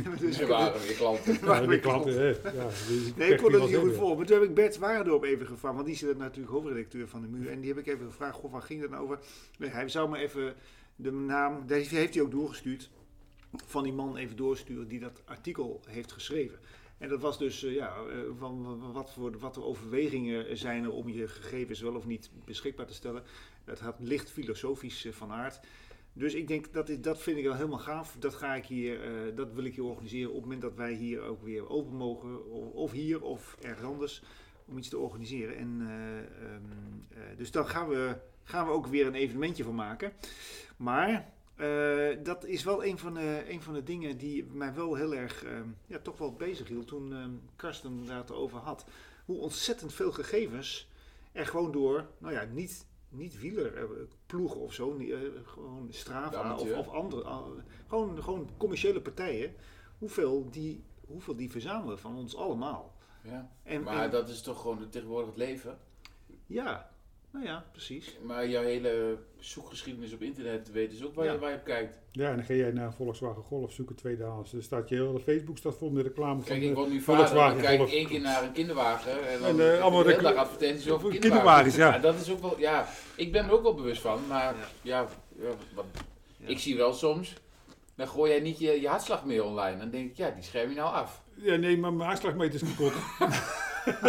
A: dus
B: Dus we
A: ik-
B: waren weer klanten.
A: Maar
C: ja,
A: ik-
C: die klanten, hè. Ja, die-
A: Nee, ik kon het niet
C: die wel
A: goed
C: hebben.
A: volgen. Maar toen heb ik Bert Waarendorp even gevraagd, want die is natuurlijk hoofdredacteur van de Muur. En die heb ik even gevraagd, goh, waar ging dat nou over? Nee, hij zou me even de naam, dat heeft- heeft hij ook doorgestuurd, van die man even doorsturen die dat artikel heeft geschreven. En dat was dus, eh, ja, eh, van w- wat voor, wat voor overwegingen zijn er om je gegevens wel of niet beschikbaar te stellen. Dat had licht filosofisch eh, van aard. Dus ik denk, dat, is, dat vind ik wel helemaal gaaf. Dat ga ik hier, eh, dat wil ik hier organiseren op het moment dat wij hier ook weer open mogen. Of, of hier, of ergens anders, om iets te organiseren. En, eh, ehm, eh, dus daar gaan we, gaan we ook weer een evenementje van maken. Maar eh, dat is wel een van, de, een van de dingen die mij wel heel erg, ehm, ja, toch wel bezig hield toen ehm, Karsten daar het over had. Hoe ontzettend veel gegevens er gewoon door, nou ja, niet niet wielerploegen of zo, niet, eh, gewoon
B: De
A: Strava of,
B: amateur.
A: of andere, ah, gewoon, gewoon commerciële partijen, hoeveel die, hoeveel die verzamelen van ons allemaal.
B: Ja.
A: En,
B: Maar
A: en-
B: dat is toch gewoon tegenwoordig het leven.
A: Ja, nou ja, precies.
B: Maar jouw hele zoekgeschiedenis op internet weet dus ook waar, je,
A: Ja.
B: waar je op kijkt.
C: Ja, en dan ga jij naar Volkswagen Golf zoeken tweedehands. Dan Dus staat je hele Facebook staat vol met reclame van
B: Kijk, ik
C: eh,
B: word nu vader,
C: Volkswagen
B: ik kijk
C: Golf.
B: één keer naar een kinderwagen en dan
C: En,
B: en,
C: eh, allemaal
B: de hele
C: recla-
B: dag advertenties over
C: voor
B: kinderwagens.
C: kinderwagens, ja.
B: dat is ook wel, ja, ik ben me ook wel bewust van, maar ja,
A: Ja.
B: ja, wat-
A: Ja.
B: ik zie wel soms, dan gooi jij niet je, je hartslag meer online. Dan denk ik, ja, die scherm je nou af.
C: Ja, nee, maar mijn aanslagmeter is kapot.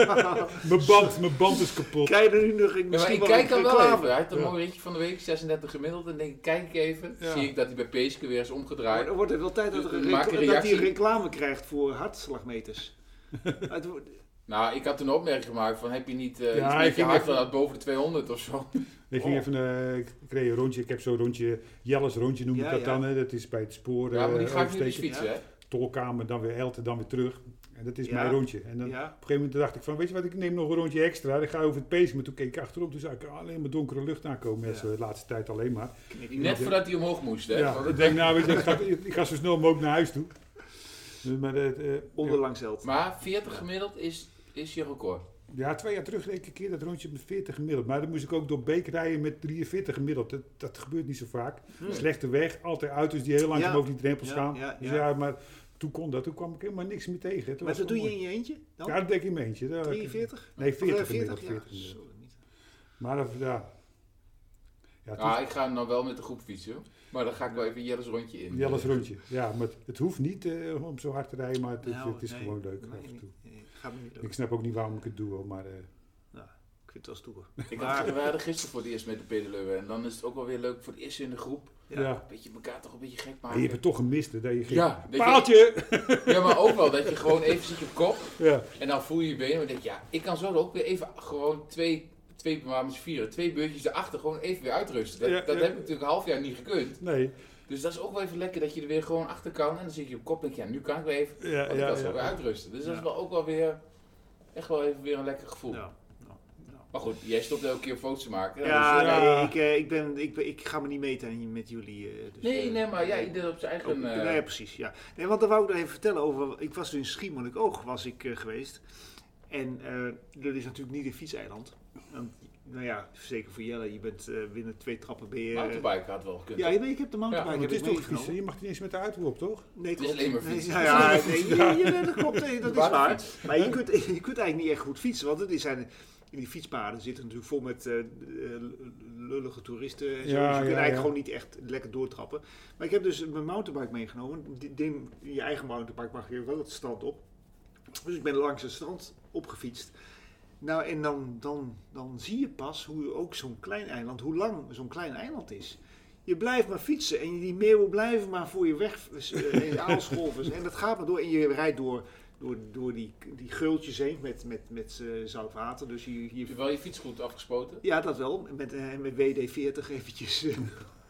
C: mijn, band, mijn band is kapot.
A: Krijg je er nu nog een-
B: Ja, maar
A: misschien
B: ik kijk dan
A: een
B: wel
A: reclame?
B: even. Hij had een
C: Ja.
B: mooi ritje van de week, 36 gemiddeld. En denk ik, kijk ik even.
C: Ja.
B: Zie ik dat hij bij Peeske weer is
A: Maar
B: omgedraaid.
A: dan wordt het wel tijd dat, er een
B: Maak
A: recla-
B: een
A: dat hij
B: reactie.
A: een reclame krijgt voor hartslagmeters. Het wordt-
B: Nou, ik had een opmerking gemaakt van, heb je niet eh
C: Ja,
B: iets
C: hij
B: met je
C: ging
B: hart
C: even-
B: van dat boven de 200 of zo?
C: Ik
A: oh.
C: ging even, eh, ik kreeg een rondje, ik heb zo'n rondje, Jelles rondje noem ik
A: Ja,
C: dat
A: ja.
C: dan. Hè. Dat is bij het spoor,
B: Ja, maar die
C: eh,
B: ga ik nu dus
C: oversteken.
B: fietsen, hè?
C: Tolkamer, dan weer Elten, dan weer terug. En dat is
A: Ja.
C: mijn rondje. En dan op
A: ja,
C: een gegeven moment dacht ik van, weet je wat, ik neem nog een rondje extra. Ik ga over het pees, maar toen keek ik achterop, toen zag ik alleen maar donkere lucht aankomen.
A: Ja.
C: Ja. De laatste tijd alleen maar.
B: Net voordat hij omhoog moest, hè?
C: Ja,
B: Want
C: ik denk nou, weet je, ik ga, ik ga zo snel mogelijk naar huis toe. Dus, Maar, dat, eh,
A: onderlangs held.
B: Maar 40 gemiddeld is, is je record.
C: Ja, twee jaar terug deed ik een keer dat rondje met 40 gemiddeld. Maar dan moest ik ook door Beek rijden met 43 gemiddeld. Dat, dat gebeurt niet zo vaak. Slechte weg, altijd auto's die heel langzaam
A: Hmm. Ja.
C: over die drempels
A: Ja,
C: gaan.
A: ja,
C: Dus
A: ja.
C: ja, maar toen kon dat. Toen kwam ik helemaal niks meer tegen. Het
A: Maar
C: was
A: dat doe
C: wel
A: je
C: mooi.
A: in je eentje dan?
C: Ja, dat deed ik in mijn eentje. Daar-
A: 43?
C: Nee, 40
A: Of, eh,
C: gemiddeld. 40
A: Ja,
C: gemiddeld.
A: zo niet.
C: Maar dat, ja. Ja, het
B: Ja, ik ga nou wel met de groep fietsen, hoor. maar dan ga ik wel even Jelle's rondje in.
C: hoeft- Jelles rondje. Ja, maar het, het hoeft niet eh, om zo hard te rijden, maar het, het-
A: Nou,
C: het is
A: nee,
C: gewoon leuk
A: nee,
C: af en toe.
A: nee, Gaat me niet lukken.
C: Ik snap ook niet waarom ik het doe, hoor, maar... eh,
A: Ik vind het wel stoer.
B: Ik
A: Maar-
B: had, we hadden gisteren voor het eerst met de pedaleuwen en dan is het ook wel weer leuk voor het eerst in de groep.
C: ja.
A: Ja.
B: Beetje elkaar toch een beetje gek
C: Maar je hebt
B: maken.
C: het toch gemist, hè, dat je ging...
B: Ja, dat je-
C: Paaltje!
B: Ja, maar ook wel dat je gewoon even zit op kop
C: Ja.
B: en dan voel je je benen. En denk je, ja, ik kan zo ook weer even gewoon twee, twee maar misschien vieren, twee beurtjes erachter gewoon even weer uitrusten. Dat,
C: Ja,
B: dat
C: ja.
B: heb ik natuurlijk een half jaar niet gekund.
C: Nee.
B: Dus dat is ook wel even lekker dat je er weer gewoon achter kan. En dan zit je op kop en denk je, ja, nu kan ik weer even.
C: Ja,
B: Want ik
C: ja,
B: was wel
C: ja.
B: weer uitrusten. Dus dat is
A: Ja.
B: wel ook wel weer echt wel even weer een lekker gevoel.
A: Ja.
B: Maar goed, jij stopt elke keer foto's te maken.
A: Ja,
C: Ja.
A: nee, ik, eh, ik, ben, ik, ben, ik ga me niet meten met jullie. eh, dus,
B: dus, nee,
A: eh,
B: nee, maar ja, ieder op zijn
A: Ook-
B: eigen. eh,
A: nee, precies, ja. Nee, want dan wou ik nog even vertellen over... Ik was dus in Schiermonnikoog was ik eh, geweest. En eh, dat is natuurlijk niet een fietseiland. Want, nou ja, zeker voor Jelle, je bent eh, binnen twee trappen ben je...
B: mountainbike had wel gekund.
A: dus. ja, nee, ik heb de mountainbike
C: Maar het is
A: heb ik
C: toch
A: meegenomen.
C: fietsen? Je mag niet eens met de uitroep, toch?
A: Nee,
B: Het is
A: klopt.
B: alleen maar fietsen.
A: Nee, ja,
C: Het is alleen
A: nee,
C: maar
A: je,
C: fietsen.
A: je- nee, dat klopt, nee, dat
B: De
A: is waar.
B: waterfiets.
A: Maar je kunt, je kunt eigenlijk niet echt goed fietsen, want het is zijn, in die fietspaden zitten natuurlijk vol met eh, eh, lullige toeristen. En zo, dus je
C: Ja, ja,
A: kunt eigenlijk
C: ja.
A: gewoon niet echt lekker doortrappen. Maar ik heb dus mijn mountainbike meegenomen. Dit ding, je eigen mountainbike mag je wel het strand op. Dus ik ben langs het strand opgefietst. Nou, en dan, dan, dan zie je pas hoe ook zo'n klein eiland, hoe lang zo'n klein eiland is. Je blijft maar fietsen en die meeuwen blijven maar voor je weg eh, in aalscholven. En dat gaat maar door en je rijdt door, door, door die, die geultjes heen met, met, met eh, zout water. Dus je, je
B: Heb je wel je fiets goed afgespoten?
A: ja, dat wel. Met, eh, met WD-40 eventjes. eh,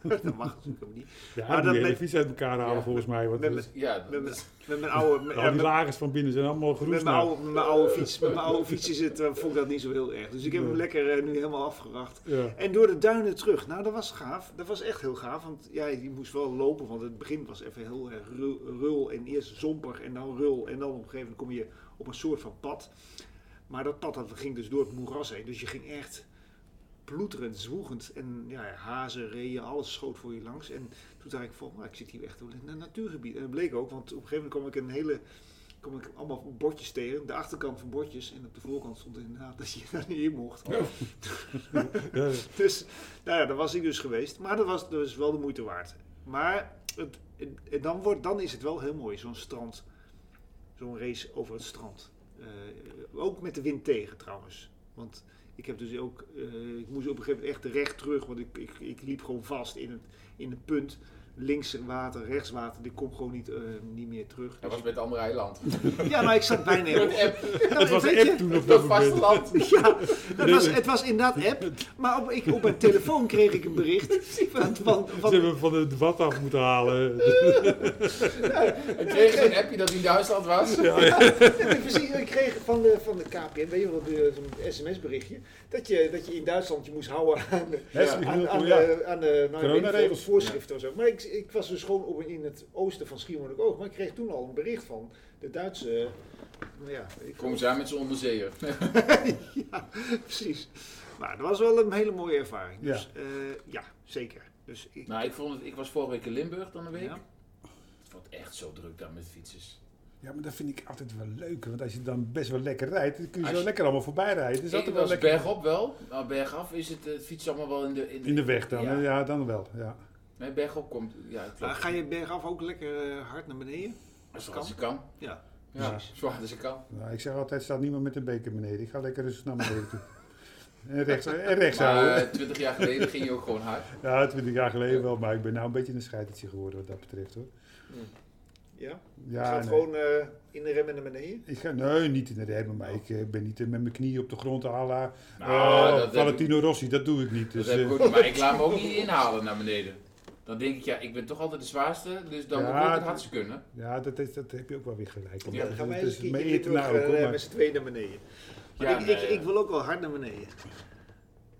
A: dat mag natuurlijk ook niet.
C: Ja,
A: Maar
C: maar
A: dat
C: dat
A: met-
C: fiets uit elkaar halen
B: Ja,
C: volgens mij. Want
A: met-
C: dat is-
B: Ja, dat
A: Met,
B: is-
A: mijn- met mijn oude... Met, eh,
C: al Nou, die
A: met-
C: lagers van binnen zijn allemaal
A: met
C: groes.
A: mijn
C: nou.
A: oude, met mijn oude fiets. Met mijn oude fiets is het, eh, vond ik dat niet zo heel erg. Dus ik heb hem
C: Nee.
A: lekker eh, nu helemaal afgeracht.
C: Ja.
A: En door de duinen terug. Nou, dat was gaaf. Dat was echt heel gaaf. Want ja, je moest wel lopen. Want het begin was even heel erg ru- rul. En eerst zompig en dan rul. En dan op een gegeven moment kom je op een soort van pad. Maar dat pad dat ging dus door het moeras heen. Dus je ging echt ploeterend, zwoegend. En ja, hazen, reeën, alles schoot voor je langs. En toen dacht ik van, nou, ik zit hier echt wel in een natuurgebied. En dat bleek ook, want op een gegeven moment kwam ik een hele... kwam ik allemaal bordjes tegen. De achterkant van bordjes. En op de voorkant stond inderdaad dat je daar niet in mocht.
C: Ja,
A: Dus nou ja, daar was ik dus geweest. Maar dat was dus wel de moeite waard. Maar het, het- dan, wordt, dan is het wel heel mooi, zo'n strand. Zo'n race over het strand. Eh, ook met de wind tegen trouwens. Want ik heb dus ook. eh, ik moest op een gegeven moment echt recht terug. Want ik, ik, ik liep gewoon vast in een, in een punt. links water, rechts water, die komt gewoon niet, eh, niet meer terug.
B: Dat was bij het andere eiland.
A: Ja, nou, ik zat bijna
B: Het
A: erop.
B: app,
A: Ja,
C: Het was
A: weet je,
C: app toen op dat
B: dat
C: moment.
B: vasteland.
A: Ja, het was, het was inderdaad app. Maar op, ik, op mijn telefoon kreeg ik een bericht. Van, van,
C: Ze
A: van-
C: hebben hem van het wat af moeten halen.
B: En kreeg je een appje dat hij in Duitsland was?
A: Ja, precies, ik eh, kreeg van de, van de KPN, weet je wel, de- zo'n sms-berichtje. Dat je, dat je in Duitsland je moest houden aan de,
C: Hè,
B: Ja,
C: ze
A: aan,
C: beginnen
A: aan
C: toen, oh, ja.
A: de, aan de nou, ik weet niet,
C: Coronaregels.
A: voorschriften of zo. Maar ik, ik was dus gewoon op, in het oosten van Schiermonnikoog. Maar ik kreeg toen al een bericht van de Duitse... eh, Nou ja, ik
B: Kom eens aan met zijn onderzeeër.
A: ja, precies. Maar dat was wel een hele mooie ervaring. Dus ja, ja zeker. Dus ik,
B: Nou, ik, vond het, ik was vorige week in Limburg dan een week.
A: Ja.
B: Het wordt echt zo druk daar met fietsers.
C: Ja, maar dat vind ik altijd wel leuk. Want als je dan best wel lekker rijdt, dan kun je
B: Als
C: zo
B: je-
C: lekker allemaal voorbij rijden. Dus
B: Dus ik
C: altijd wel
B: was
C: lekker
B: bergop wel, maar bergaf is het, eh, het fietsen allemaal wel in de... In de,
C: in de weg dan.
B: Ja.
C: Ja, ja dan wel. Ja.
B: Nee, bergop komt... Ja, klopt.
A: maar ga je bergaf ook lekker eh, hard naar beneden?
B: Zo hard als je kan.
A: Ja.
B: Ja,
C: Ja.
B: zo hard als je kan.
C: Nou, ik zeg altijd, staat niemand met een beker beneden. Ik ga lekker rustig naar beneden toe. En rechts, en rechts houden.
B: Maar eh, twintig jaar geleden ging je ook gewoon hard.
C: Ja, 20 jaar geleden wel, maar ik ben nou een beetje een scheitertje geworden wat dat betreft hoor.
A: Ja? Is
C: Ja,
A: dat
C: nee.
A: gewoon eh, in de rem en naar beneden?
C: Ik ga, nee, niet in de remmen, maar ik eh, ben niet eh, met mijn knieën op de grond à la
B: Nou,
C: eh,
B: dat heb
C: Valentino Rossi, dat doe ik niet. Dus,
B: dat heb
C: eh,
B: ik ook niet, maar ik laat me ook niet inhalen naar beneden. Dan denk ik, ja, ik ben toch altijd de zwaarste, dus dan
C: Ja,
B: moet ik het
C: dat-
B: hardst kunnen.
C: ja, dat, is, dat heb je ook wel weer gelijk.
B: Ja,
A: Dan gaan wij
C: Het
A: eens
C: is
A: een
C: mijn
A: keertje
C: eten nou
A: terug,
C: ook, hoor,
A: eh,
C: maar-
A: met z'n tweeën naar beneden. Maar
B: Ja,
A: ik,
B: nee,
A: ik,
B: ja.
A: ik wil ook wel hard naar beneden.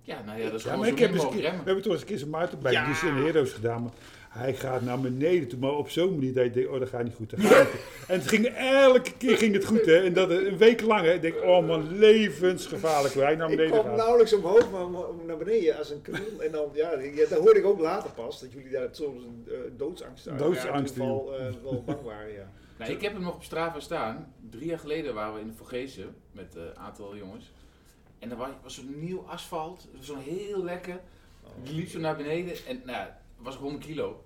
B: Ja, nou ja, dat is
C: Ja,
B: gewoon
C: maar
B: zo
C: ik heb
B: min
C: eens een
B: mogelijk
C: keer, we
B: remmen.
C: hebben toch eens een keer zo'n mountainbike
A: Ja.
C: die zijn heroes gedaan. Maar hij gaat naar beneden toe, maar op zo'n manier dat je denkt, oh dat gaat niet goed. dat gaat niet goed. en het ging, elke keer ging het goed hè. En dat een week lang hè. Ik denk, oh man, levensgevaarlijk hoe hij naar
A: Ik
C: beneden
A: kwam
C: gaat.
A: nauwelijks omhoog, maar om- om naar beneden als een kanon. En dan, ja, ja, dat hoorde ik ook later pas, dat jullie daar soms een eh, doodsangst uit
C: Doodsangst,
A: ja, in ieder geval eh, wel bang waren, ja.
B: Nou, ik heb hem nog op Strava staan. Drie jaar geleden waren we in de Vorgezen met eh, een aantal jongens. En er was, was zo'n nieuw asfalt, zo'n heel lekker.
A: Oh.
B: Die liep zo naar beneden en nou, ja, het was 100 kilo.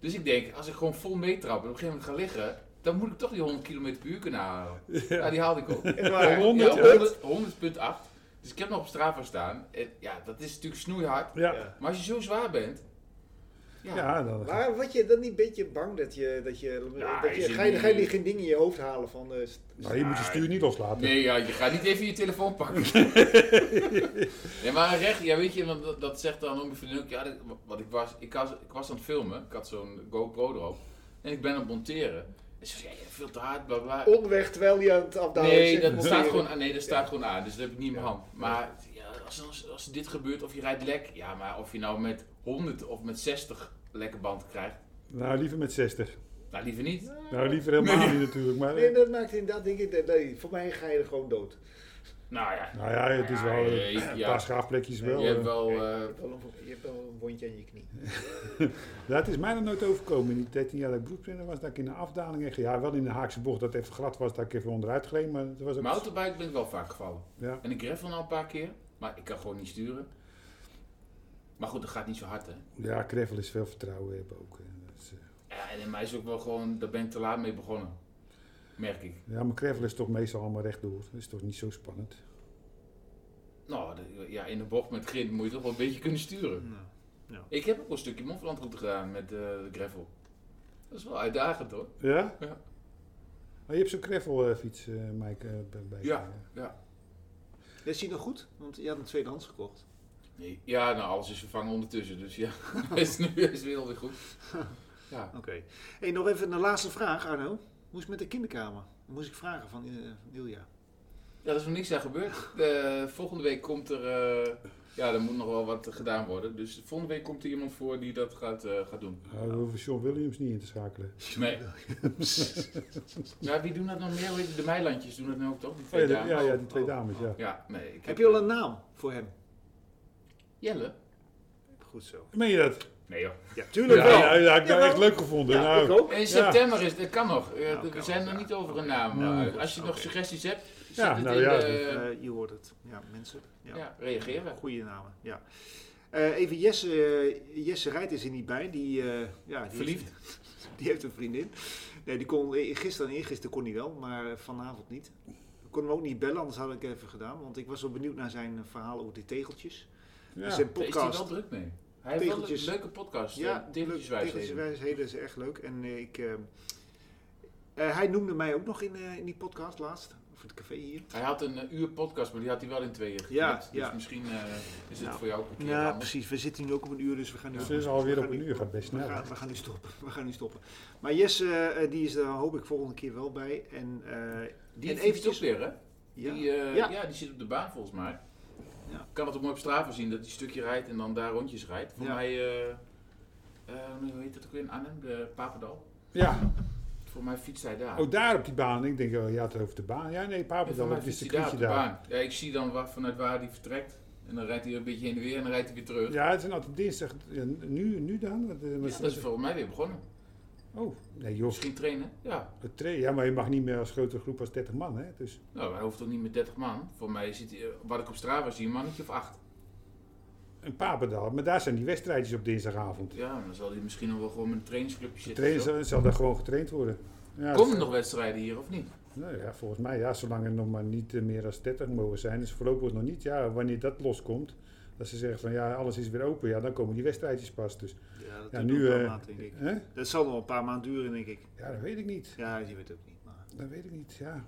B: Dus ik denk, als ik gewoon vol meetrap en op een gegeven moment ga liggen, dan moet ik toch die 100 km per uur kunnen halen. Ja, die haalde ik ook.
A: En waar-
C: 100,
B: ja,
A: ja.
B: 100, 100.8. Dus ik heb nog op Strava staan. En ja, dat is natuurlijk snoeihard.
C: Ja,
B: Maar als je zo zwaar bent. Ja,
C: ja dan,
A: Maar word je dan niet een beetje bang dat je, dat je,
B: Ja,
A: dat
B: is
A: je,
B: het
A: ga je,
B: niet.
A: ga je die geen dingen in je hoofd halen van, eh, st-
C: nou, je moet je stuur niet loslaten.
B: Nee, ja, je gaat niet even je telefoon pakken. nee, maar een recht, ja, weet je, want dat, dat zegt dan ook mijn vriendin ook. Ja, dat- wat ik was, ik was, ik was aan het filmen, ik had zo'n GoPro erop. En ik ben aan het monteren. En ze zei, ja, je bent veel te hard, bla bla.
A: onderweg terwijl je aan het afdalen
B: Nee,
A: zit,
B: dat
A: monteren.
B: staat gewoon aan. Nee, dat staat gewoon aan. Dus dat heb ik niet in mijn hand. Maar ja, als, als, als dit gebeurt of je rijdt lek, ja, maar of je nou met 100 of met 60 lekker band krijgt,
C: Nou, liever met 60.
B: nou liever niet.
C: Nou, liever helemaal niet natuurlijk. Maar,
A: Nee,
C: eh,
A: dat maakt inderdaad, denk ik, dat- nee, voor mij ga je er gewoon dood.
B: Nou ja,
C: nou ja, het is wel
B: Ja,
C: eh,
B: je- je-
C: een
B: ja.
C: paar schaafplekjes wel.
B: je hebt
C: eh.
B: wel. eh,
A: Je hebt wel een- je hebt wel een wondje aan je knie.
C: Dat Nou, is mij nog nooit overkomen. In die 13 jaar dat ik broekprinter was, dat ik in de afdaling echt... Ja, wel in de Haakse bocht, dat het even glad was, dat ik even onderuit gleed. Maar het was ook...
B: mountainbike ben ik wel vaak gevallen.
C: Ja.
B: En ik greffel nou een paar keer, maar ik kan gewoon niet sturen. Maar goed, dat gaat niet zo hard, hè.
C: Ja, Krevel is veel vertrouwen hebben ook. hè. Dat is, eh,
B: Ja, en in mij is ook wel gewoon, daar ben ik te laat mee begonnen. Merk ik.
C: ja, maar Krevel is toch meestal allemaal rechtdoor. Dat is toch niet zo spannend.
B: Nou, de- ja, in de bocht met grind moet je toch wel een beetje kunnen sturen.
A: Nou,
B: Ik heb ook wel een stukje Montferlandroute gedaan met eh, de gravel. Dat is wel uitdagend, hoor.
C: Ja?
B: Ja.
C: Maar Oh, je hebt zo'n Krevel-fiets, Mike, eh, bij- bij je.
B: Ja. Ja,
A: Is die nog goed? Want je had een tweedehands gekocht.
B: nee. ja nou, alles is vervangen ondertussen, dus ja, is nu is weer alweer goed. Ja.
A: Oké. Hey, nog even een laatste vraag, Arno. Hoe is het met de kinderkamer? Dat moest ik vragen van eh Ilja.
B: Ja, er is nog niks aan gebeurd. Eh, volgende week komt er. eh, ja, er moet nog wel wat gedaan worden. Dus volgende week komt er iemand voor die dat gaat, eh, gaat doen.
C: Nou, we hoeven Sean Williams niet in te schakelen.
B: Nee. ja, wie doen dat nog meer? Hoe heet het? De Meilandjes doen dat nu ook toch? Die
C: Oh,
B: twee
C: ja, de-
B: dames.
C: ja, ja, die twee
A: Oh.
C: dames, ja.
B: Ja, nee. Ik eh,
A: Heb eh, je al een naam voor hem?
B: Jelle?
A: Goed zo.
C: Meen je dat?
B: Nee joh.
A: Ja, tuurlijk
C: ja,
A: wel.
C: ja, ja, ik ben
A: Jawel.
C: echt leuk gevonden.
A: Ja,
C: nou,
A: ik ook.
B: In september is dat kan nog. Eh,
A: Nou,
B: we
A: kan
B: zijn
A: nog,
B: er
A: ja.
B: niet over een naam.
C: Nou,
B: eh,
A: goed,
B: als je nog
A: oké.
B: suggesties hebt, zet
C: Ja,
B: het
C: nou
B: in
C: ja,
B: de-
A: Eh, je hoort het. Ja, mensen. Ja.
B: ja, reageren.
A: Goede namen, ja. Eh, even Jesse, eh, Jesse Rijt is er niet bij. Die, eh, ja, die
B: Verliefd?
A: heeft- die heeft een vriendin. Nee, die kon eh, gisteren en eergisteren kon hij wel, maar eh, vanavond niet. Ik kon hem ook niet bellen, anders had ik even gedaan. Want ik was wel benieuwd naar zijn eh, verhaal over die tegeltjes.
C: ja.
A: Zijn
B: Daar is hij
A: podcast.
B: wel druk mee. Hij heeft wel een
A: Tegeltjes.
B: leuke podcast. eh,
A: Ja,
B: Ja, tegeltjeswijsheden.
A: Tegeltjes wijsheden is echt leuk. En eh, ik, eh, eh, hij noemde mij ook nog in, eh, in die podcast laatst, of in het café hier.
B: Hij had een eh, uur podcast, maar die had hij wel in tweeën geknipt.
A: Ja,
B: dus
A: ja.
B: misschien eh, is het
A: Nou,
B: voor jou ook een keer
A: Ja,
B: anders.
A: precies. We zitten nu ook op een uur, dus we gaan nu...
C: Dus het is alweer
A: we
C: op
A: gaan
C: een
A: nu-
C: uur, gaat best
A: We
C: snel.
A: gaan, we gaan nu stoppen. We gaan nu stoppen. Maar Jesse, eh, die is er hoop ik volgende keer wel bij. En, eh,
B: Die
A: en
B: heeft
A: eventjes-
B: eventjes weer, hè?
A: ja.
B: Die, eh,
A: Ja.
B: ja. die zit op de baan volgens mij.
A: Ja.
B: Kan het ook mooi op Strava zien dat hij een stukje rijdt en dan daar rondjes rijdt. Voor
A: Ja.
B: mij, eh, eh, hoe heet dat ook weer in Arnhem? De Papendal.
C: Ja,
B: Voor mij fietst hij daar.
C: ook Oh, daar op die baan. Ik denk, oh, je had het over de baan. Ja, nee,
B: En
C: Papendal,
B: voor mij
C: het is
B: fietst
C: de
B: hij daar op
C: daar.
B: de baan. Ja, ik zie dan waar, vanuit waar hij vertrekt. En dan rijdt hij een beetje heen en weer en dan rijdt hij weer terug. Ja,
C: Ja, het is altijd dinsdag. Ja, Nu, nu dan? Want, eh, was-
B: dat is volgens mij weer begonnen.
C: Oh, nee joh.
B: Misschien trainen? Ja.
C: Het tra- Ja, maar je mag niet meer als grote groep als 30 man, hè? Dus
B: Nou, hij hoeft toch niet met 30 man. Voor mij zit hij, eh, wat ik op Strava zie, een mannetje of acht.
C: een Papendal. Maar daar zijn die wedstrijdjes op dinsdagavond.
B: Ja, dan zal hij misschien nog wel gewoon met een trainingsclubje
C: De
B: zitten.
C: trainer
B: of zo.
C: zal, zal daar gewoon getraind worden. Ja,
B: Komen
C: dat-
B: er nog wedstrijden hier of niet?
C: Nou ja, volgens mij, ja, zolang er nog maar niet eh, meer dan 30 mogen zijn, is voorlopig nog niet. Ja, wanneer dat loskomt, dat ze zeggen van ja, alles is weer open, ja, dan komen die wedstrijdjes pas. Dus,
A: Ja, dat
C: Ja,
A: duurt nog
C: nu,
A: wel een
C: eh,
A: maand, denk ik.
C: hè?
A: Dat zal nog wel een paar maanden duren, denk ik.
C: Ja, dat weet ik niet.
A: Ja, je weet het ook niet. Maar,
C: Dat weet ik niet, ja.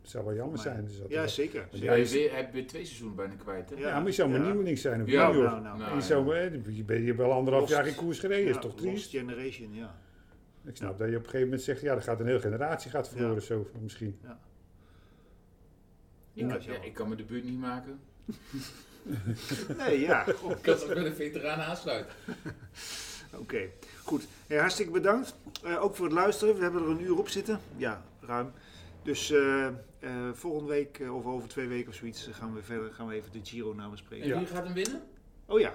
C: Het zou wel jammer
A: maar-
C: zijn. Dus dat-
A: ja,
C: dat-
A: zeker.
C: Ja,
B: Ja,
C: je
B: je
C: zit-
B: weer- hij heeft weer twee seizoenen bijna kwijt, hè?
A: Ja.
C: ja, maar je zou maar
A: Ja.
C: nieuweling zijn of
B: Ja,
C: niet, joh.
A: nou, nou.
B: Nou,
C: je, zou, hè, je bent- je bent anderhalf
A: Lost.
C: jaar in koers gereden,
A: Ja,
C: is toch
A: Lost
C: triest?
A: Generation, ja.
C: Ik snap dat je op een gegeven moment zegt, ja, er gaat een hele generatie gaat verloren
A: Ja.
C: of zo, misschien.
B: Ik,
A: Ja,
B: kan, ja, ik kan me de buurt niet maken.
A: Nee, ja. Goh,
B: Ik kan zich bij de veteranen aansluiten.
A: Oké, goed. Hey, hartstikke bedankt. Eh, ook voor het luisteren. We hebben er een uur op zitten. Ja, ruim. Dus eh, eh, volgende week eh, of over twee weken of zoiets eh, gaan we verder. Gaan we even de Giro
B: En
A: namenspreken.
C: Ja.
B: wie gaat hem winnen?
A: Oh ja.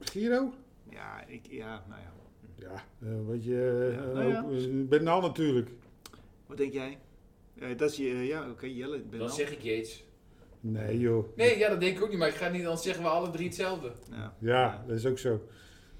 C: Giro?
A: Ja, ik, ja, nou ja.
C: Ja, eh weet je, eh,
A: Ja, nou ja.
C: ook, eh, Bernal natuurlijk.
A: Wat denk jij? Eh, dat is je, eh, ja, oké, Jelle. ik Ben
B: Dan
A: al.
B: zeg ik Yates.
C: Nee joh,
B: Nee, ja, dat denk ik ook niet, maar ik ga niet, dan zeggen we alle drie hetzelfde.
A: Ja.
C: Ja, dat is ook zo.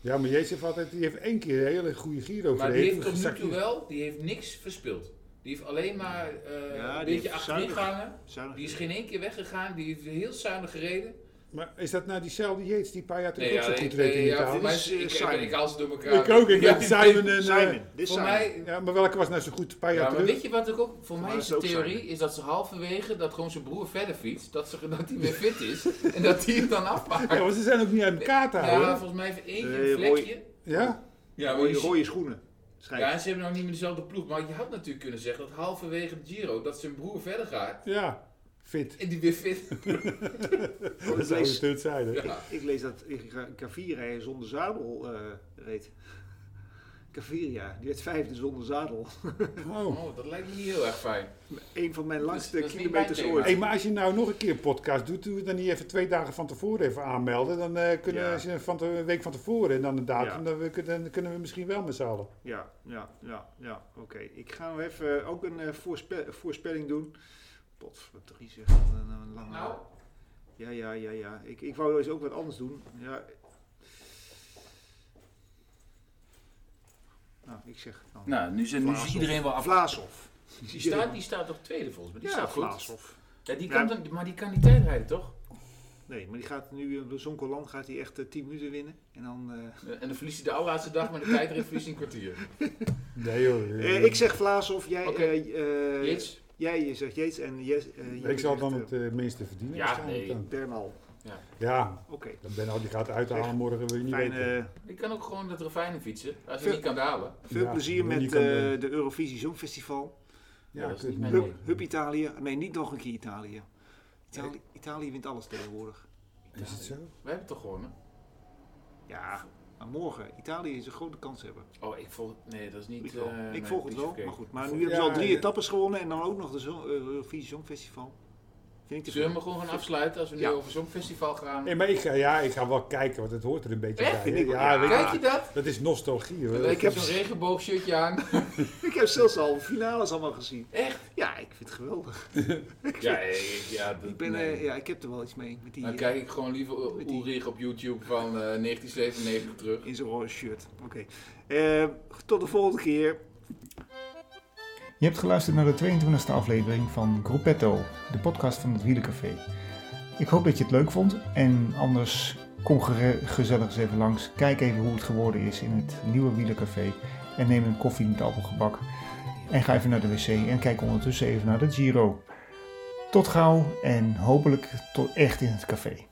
C: Ja, maar Jezus heeft altijd, die heeft één keer een hele goede Giro
B: Maar die heeft
C: gereden.
B: tot nu
C: Zag je-
B: toe wel, die heeft niks verspild. Die heeft alleen maar eh,
A: Ja,
B: een
A: die
B: beetje
A: heeft
B: achterin
A: zuinig-
B: gehangen.
A: Zuinig.
B: Die is geen één keer weggegaan, die heeft heel zuinig gereden.
C: Maar is dat nou diezelfde Jeets die een paar jaar terug
B: Nee,
C: ook
B: ja,
C: zo
B: ik,
C: goed
B: ik,
C: reed in
B: ja, voor
A: dit
C: Italië?
B: mij
A: is, eh,
B: ik, ik,
A: Simon.
B: ik haal ze door elkaar.
C: Ik ook, ik
B: Ja,
C: heb Simon en... eh,
A: Simon, dit is
B: Voor
A: Simon.
B: mij,
C: ja, maar welke was nou zo goed een paar jaar
B: ja, maar
C: terug?
B: weet je wat ik ook, voor mij
A: mij
B: is
A: is
B: de
A: het ook
B: theorie, is dat ze halverwege, dat gewoon zijn broer verder fietst, dat, ze, dat hij weer fit is en dat hij het dan
C: Ja,
B: afmaakt.
C: want ze zijn ook niet uit elkaar te houden.
B: Ja,
C: Ja?
B: volgens mij heeft eentje
A: Nee,
B: een
A: Roy-
B: vlekje. Ja, maar
A: Rode,
B: je ziet-
A: rode schoenen. Schijnt.
B: ja, en ze hebben nog niet meer dezelfde ploeg, maar je had natuurlijk kunnen zeggen dat halverwege de Giro, dat zijn broer verder gaat
C: Ja, fit.
B: en die weer fit.
A: Oh,
C: Dat
A: ik,
C: zou
A: lees,
C: gestuurd zijn, hè?
B: Ja.
A: ik lees dat Caviri hij zonder zadel eh, reed. Caviri, ja. Die werd vijfde zonder zadel.
C: Oh.
B: Oh, dat lijkt me niet heel erg fijn.
A: Een van mijn langste
B: dat is niet
A: kilometers
B: mijn thema.
A: ooit.
C: Hey, maar als je nou nog een keer een podcast doet, doe het dan niet even twee dagen van tevoren even aanmelden. Dan eh, kunnen
A: Ja.
C: als je van te- een week van tevoren en dan de datum,
A: Ja.
C: dan, we kunnen- dan kunnen we misschien wel met z'n allen.
A: Ja, ja, ja, ja. Oké, ik ga nog even eh, ook een eh, voorspe- voorspelling doen. Potverdrie zeg, wat een, een lange...
B: Nou,
A: Ja, ja, ja, ja. Ik, ik wou eens ook wat anders doen. Ja. Nou, ik zeg dan...
B: nou nu, zijn, nu
A: Vlaashoff.
B: is iedereen wel af.
A: Vlaashoff.
B: Die staat, die staat op tweede volgens mij. Die
A: ja,
B: staat goed.
A: Vlaashoff.
B: Ja, die
A: Ja.
B: kan dan, maar die kan die tijd rijden, toch?
A: Nee, maar die gaat nu eh, bij Zonkoland gaat hij echt eh, 10 minuten winnen. En dan... eh,
B: En dan verliest hij de allerlaatste dag, maar de tijdrit verliest hij een kwartier.
C: Nee joh.
A: eh, ik zeg Vlaashoff, jij...
B: Oké.
A: eh, eh,
B: Jeets?
A: Jij je zegt Jeets en... Jes- eh, jij
C: Ik zal dan
A: zegt,
C: het eh, minste verdienen.
B: ja,
C: waarschijnlijk
B: nee.
C: dan.
A: eh, Bernal.
C: Ja,
A: Oké. eh,
C: dan ben al die gaat uithalen morgen wil je niet weten.
A: Fijne...
B: Ik kan ook gewoon dat refijnen fietsen, als je
A: Ver-
B: niet kan dalen.
A: Veel
C: Ja,
A: plezier
C: die
A: met
C: kan,
A: eh,
C: eh,
A: de Eurovisie Songfestival.
B: Ja,
C: ja,
B: dat is niet
C: kut.
B: mijn-
C: Ja,
A: Hup, hup Italië. Nee, niet nog een keer Italië. Italië, Italië wint alles tegenwoordig.
C: is het zo?
B: We hebben het toch gewonnen?
A: Ja, maar morgen. Italië is een grote kans hebben.
B: Oh, ik volg... Nee, dat is niet...
A: Ik, wel.
B: eh,
A: ik
B: nee,
A: volg het
B: niet
A: wel,
B: verkeerd.
A: maar goed. Maar nu
C: Vol-
A: hebben ze al
C: Ja,
A: drie
C: ja.
A: etappes gewonnen en dan ook nog de zo- eh, Eurovisie Songfestival. Vind ik te
B: Zullen
A: veel.
B: we gewoon gaan afsluiten als we nu
A: Ja.
B: over zo'n festival gaan?
C: Nee, maar ik ga, ja, ik ga wel kijken, want het hoort er een beetje
B: Echt?
C: bij. hè?
A: Ik-
C: Ja,
A: ja.
C: weet je,
B: Kijk je dat?
C: dat is nostalgie hoor.
B: ik
A: heb-
B: heb zo'n regenboogshirtje aan.
A: Ik heb zelfs al finales allemaal gezien.
B: Echt?
A: Ja, ik vind het geweldig.
B: Ja, ik, ja, dat,
A: Ik, ben,
B: nee.
A: eh, ja, ik heb er wel iets mee met die eh,
B: Dan kijk ik gewoon liever
A: Met
B: U-
A: die-
B: Ulrich op YouTube van eh, 1997 terug.
A: eh, in zijn roze shirt. Oké. Eh, tot de volgende keer.
D: Je hebt geluisterd naar de 22e aflevering van Gruppetto, de podcast van het Wielencafé. Ik hoop dat je het leuk vond en anders
A: Kom gere- gezellig eens even langs. Kijk even hoe het geworden is in het nieuwe wielercafé. En neem een koffie met appelgebak. En ga even naar de wc en kijk ondertussen even naar de Giro. Tot gauw en hopelijk tot echt in het café.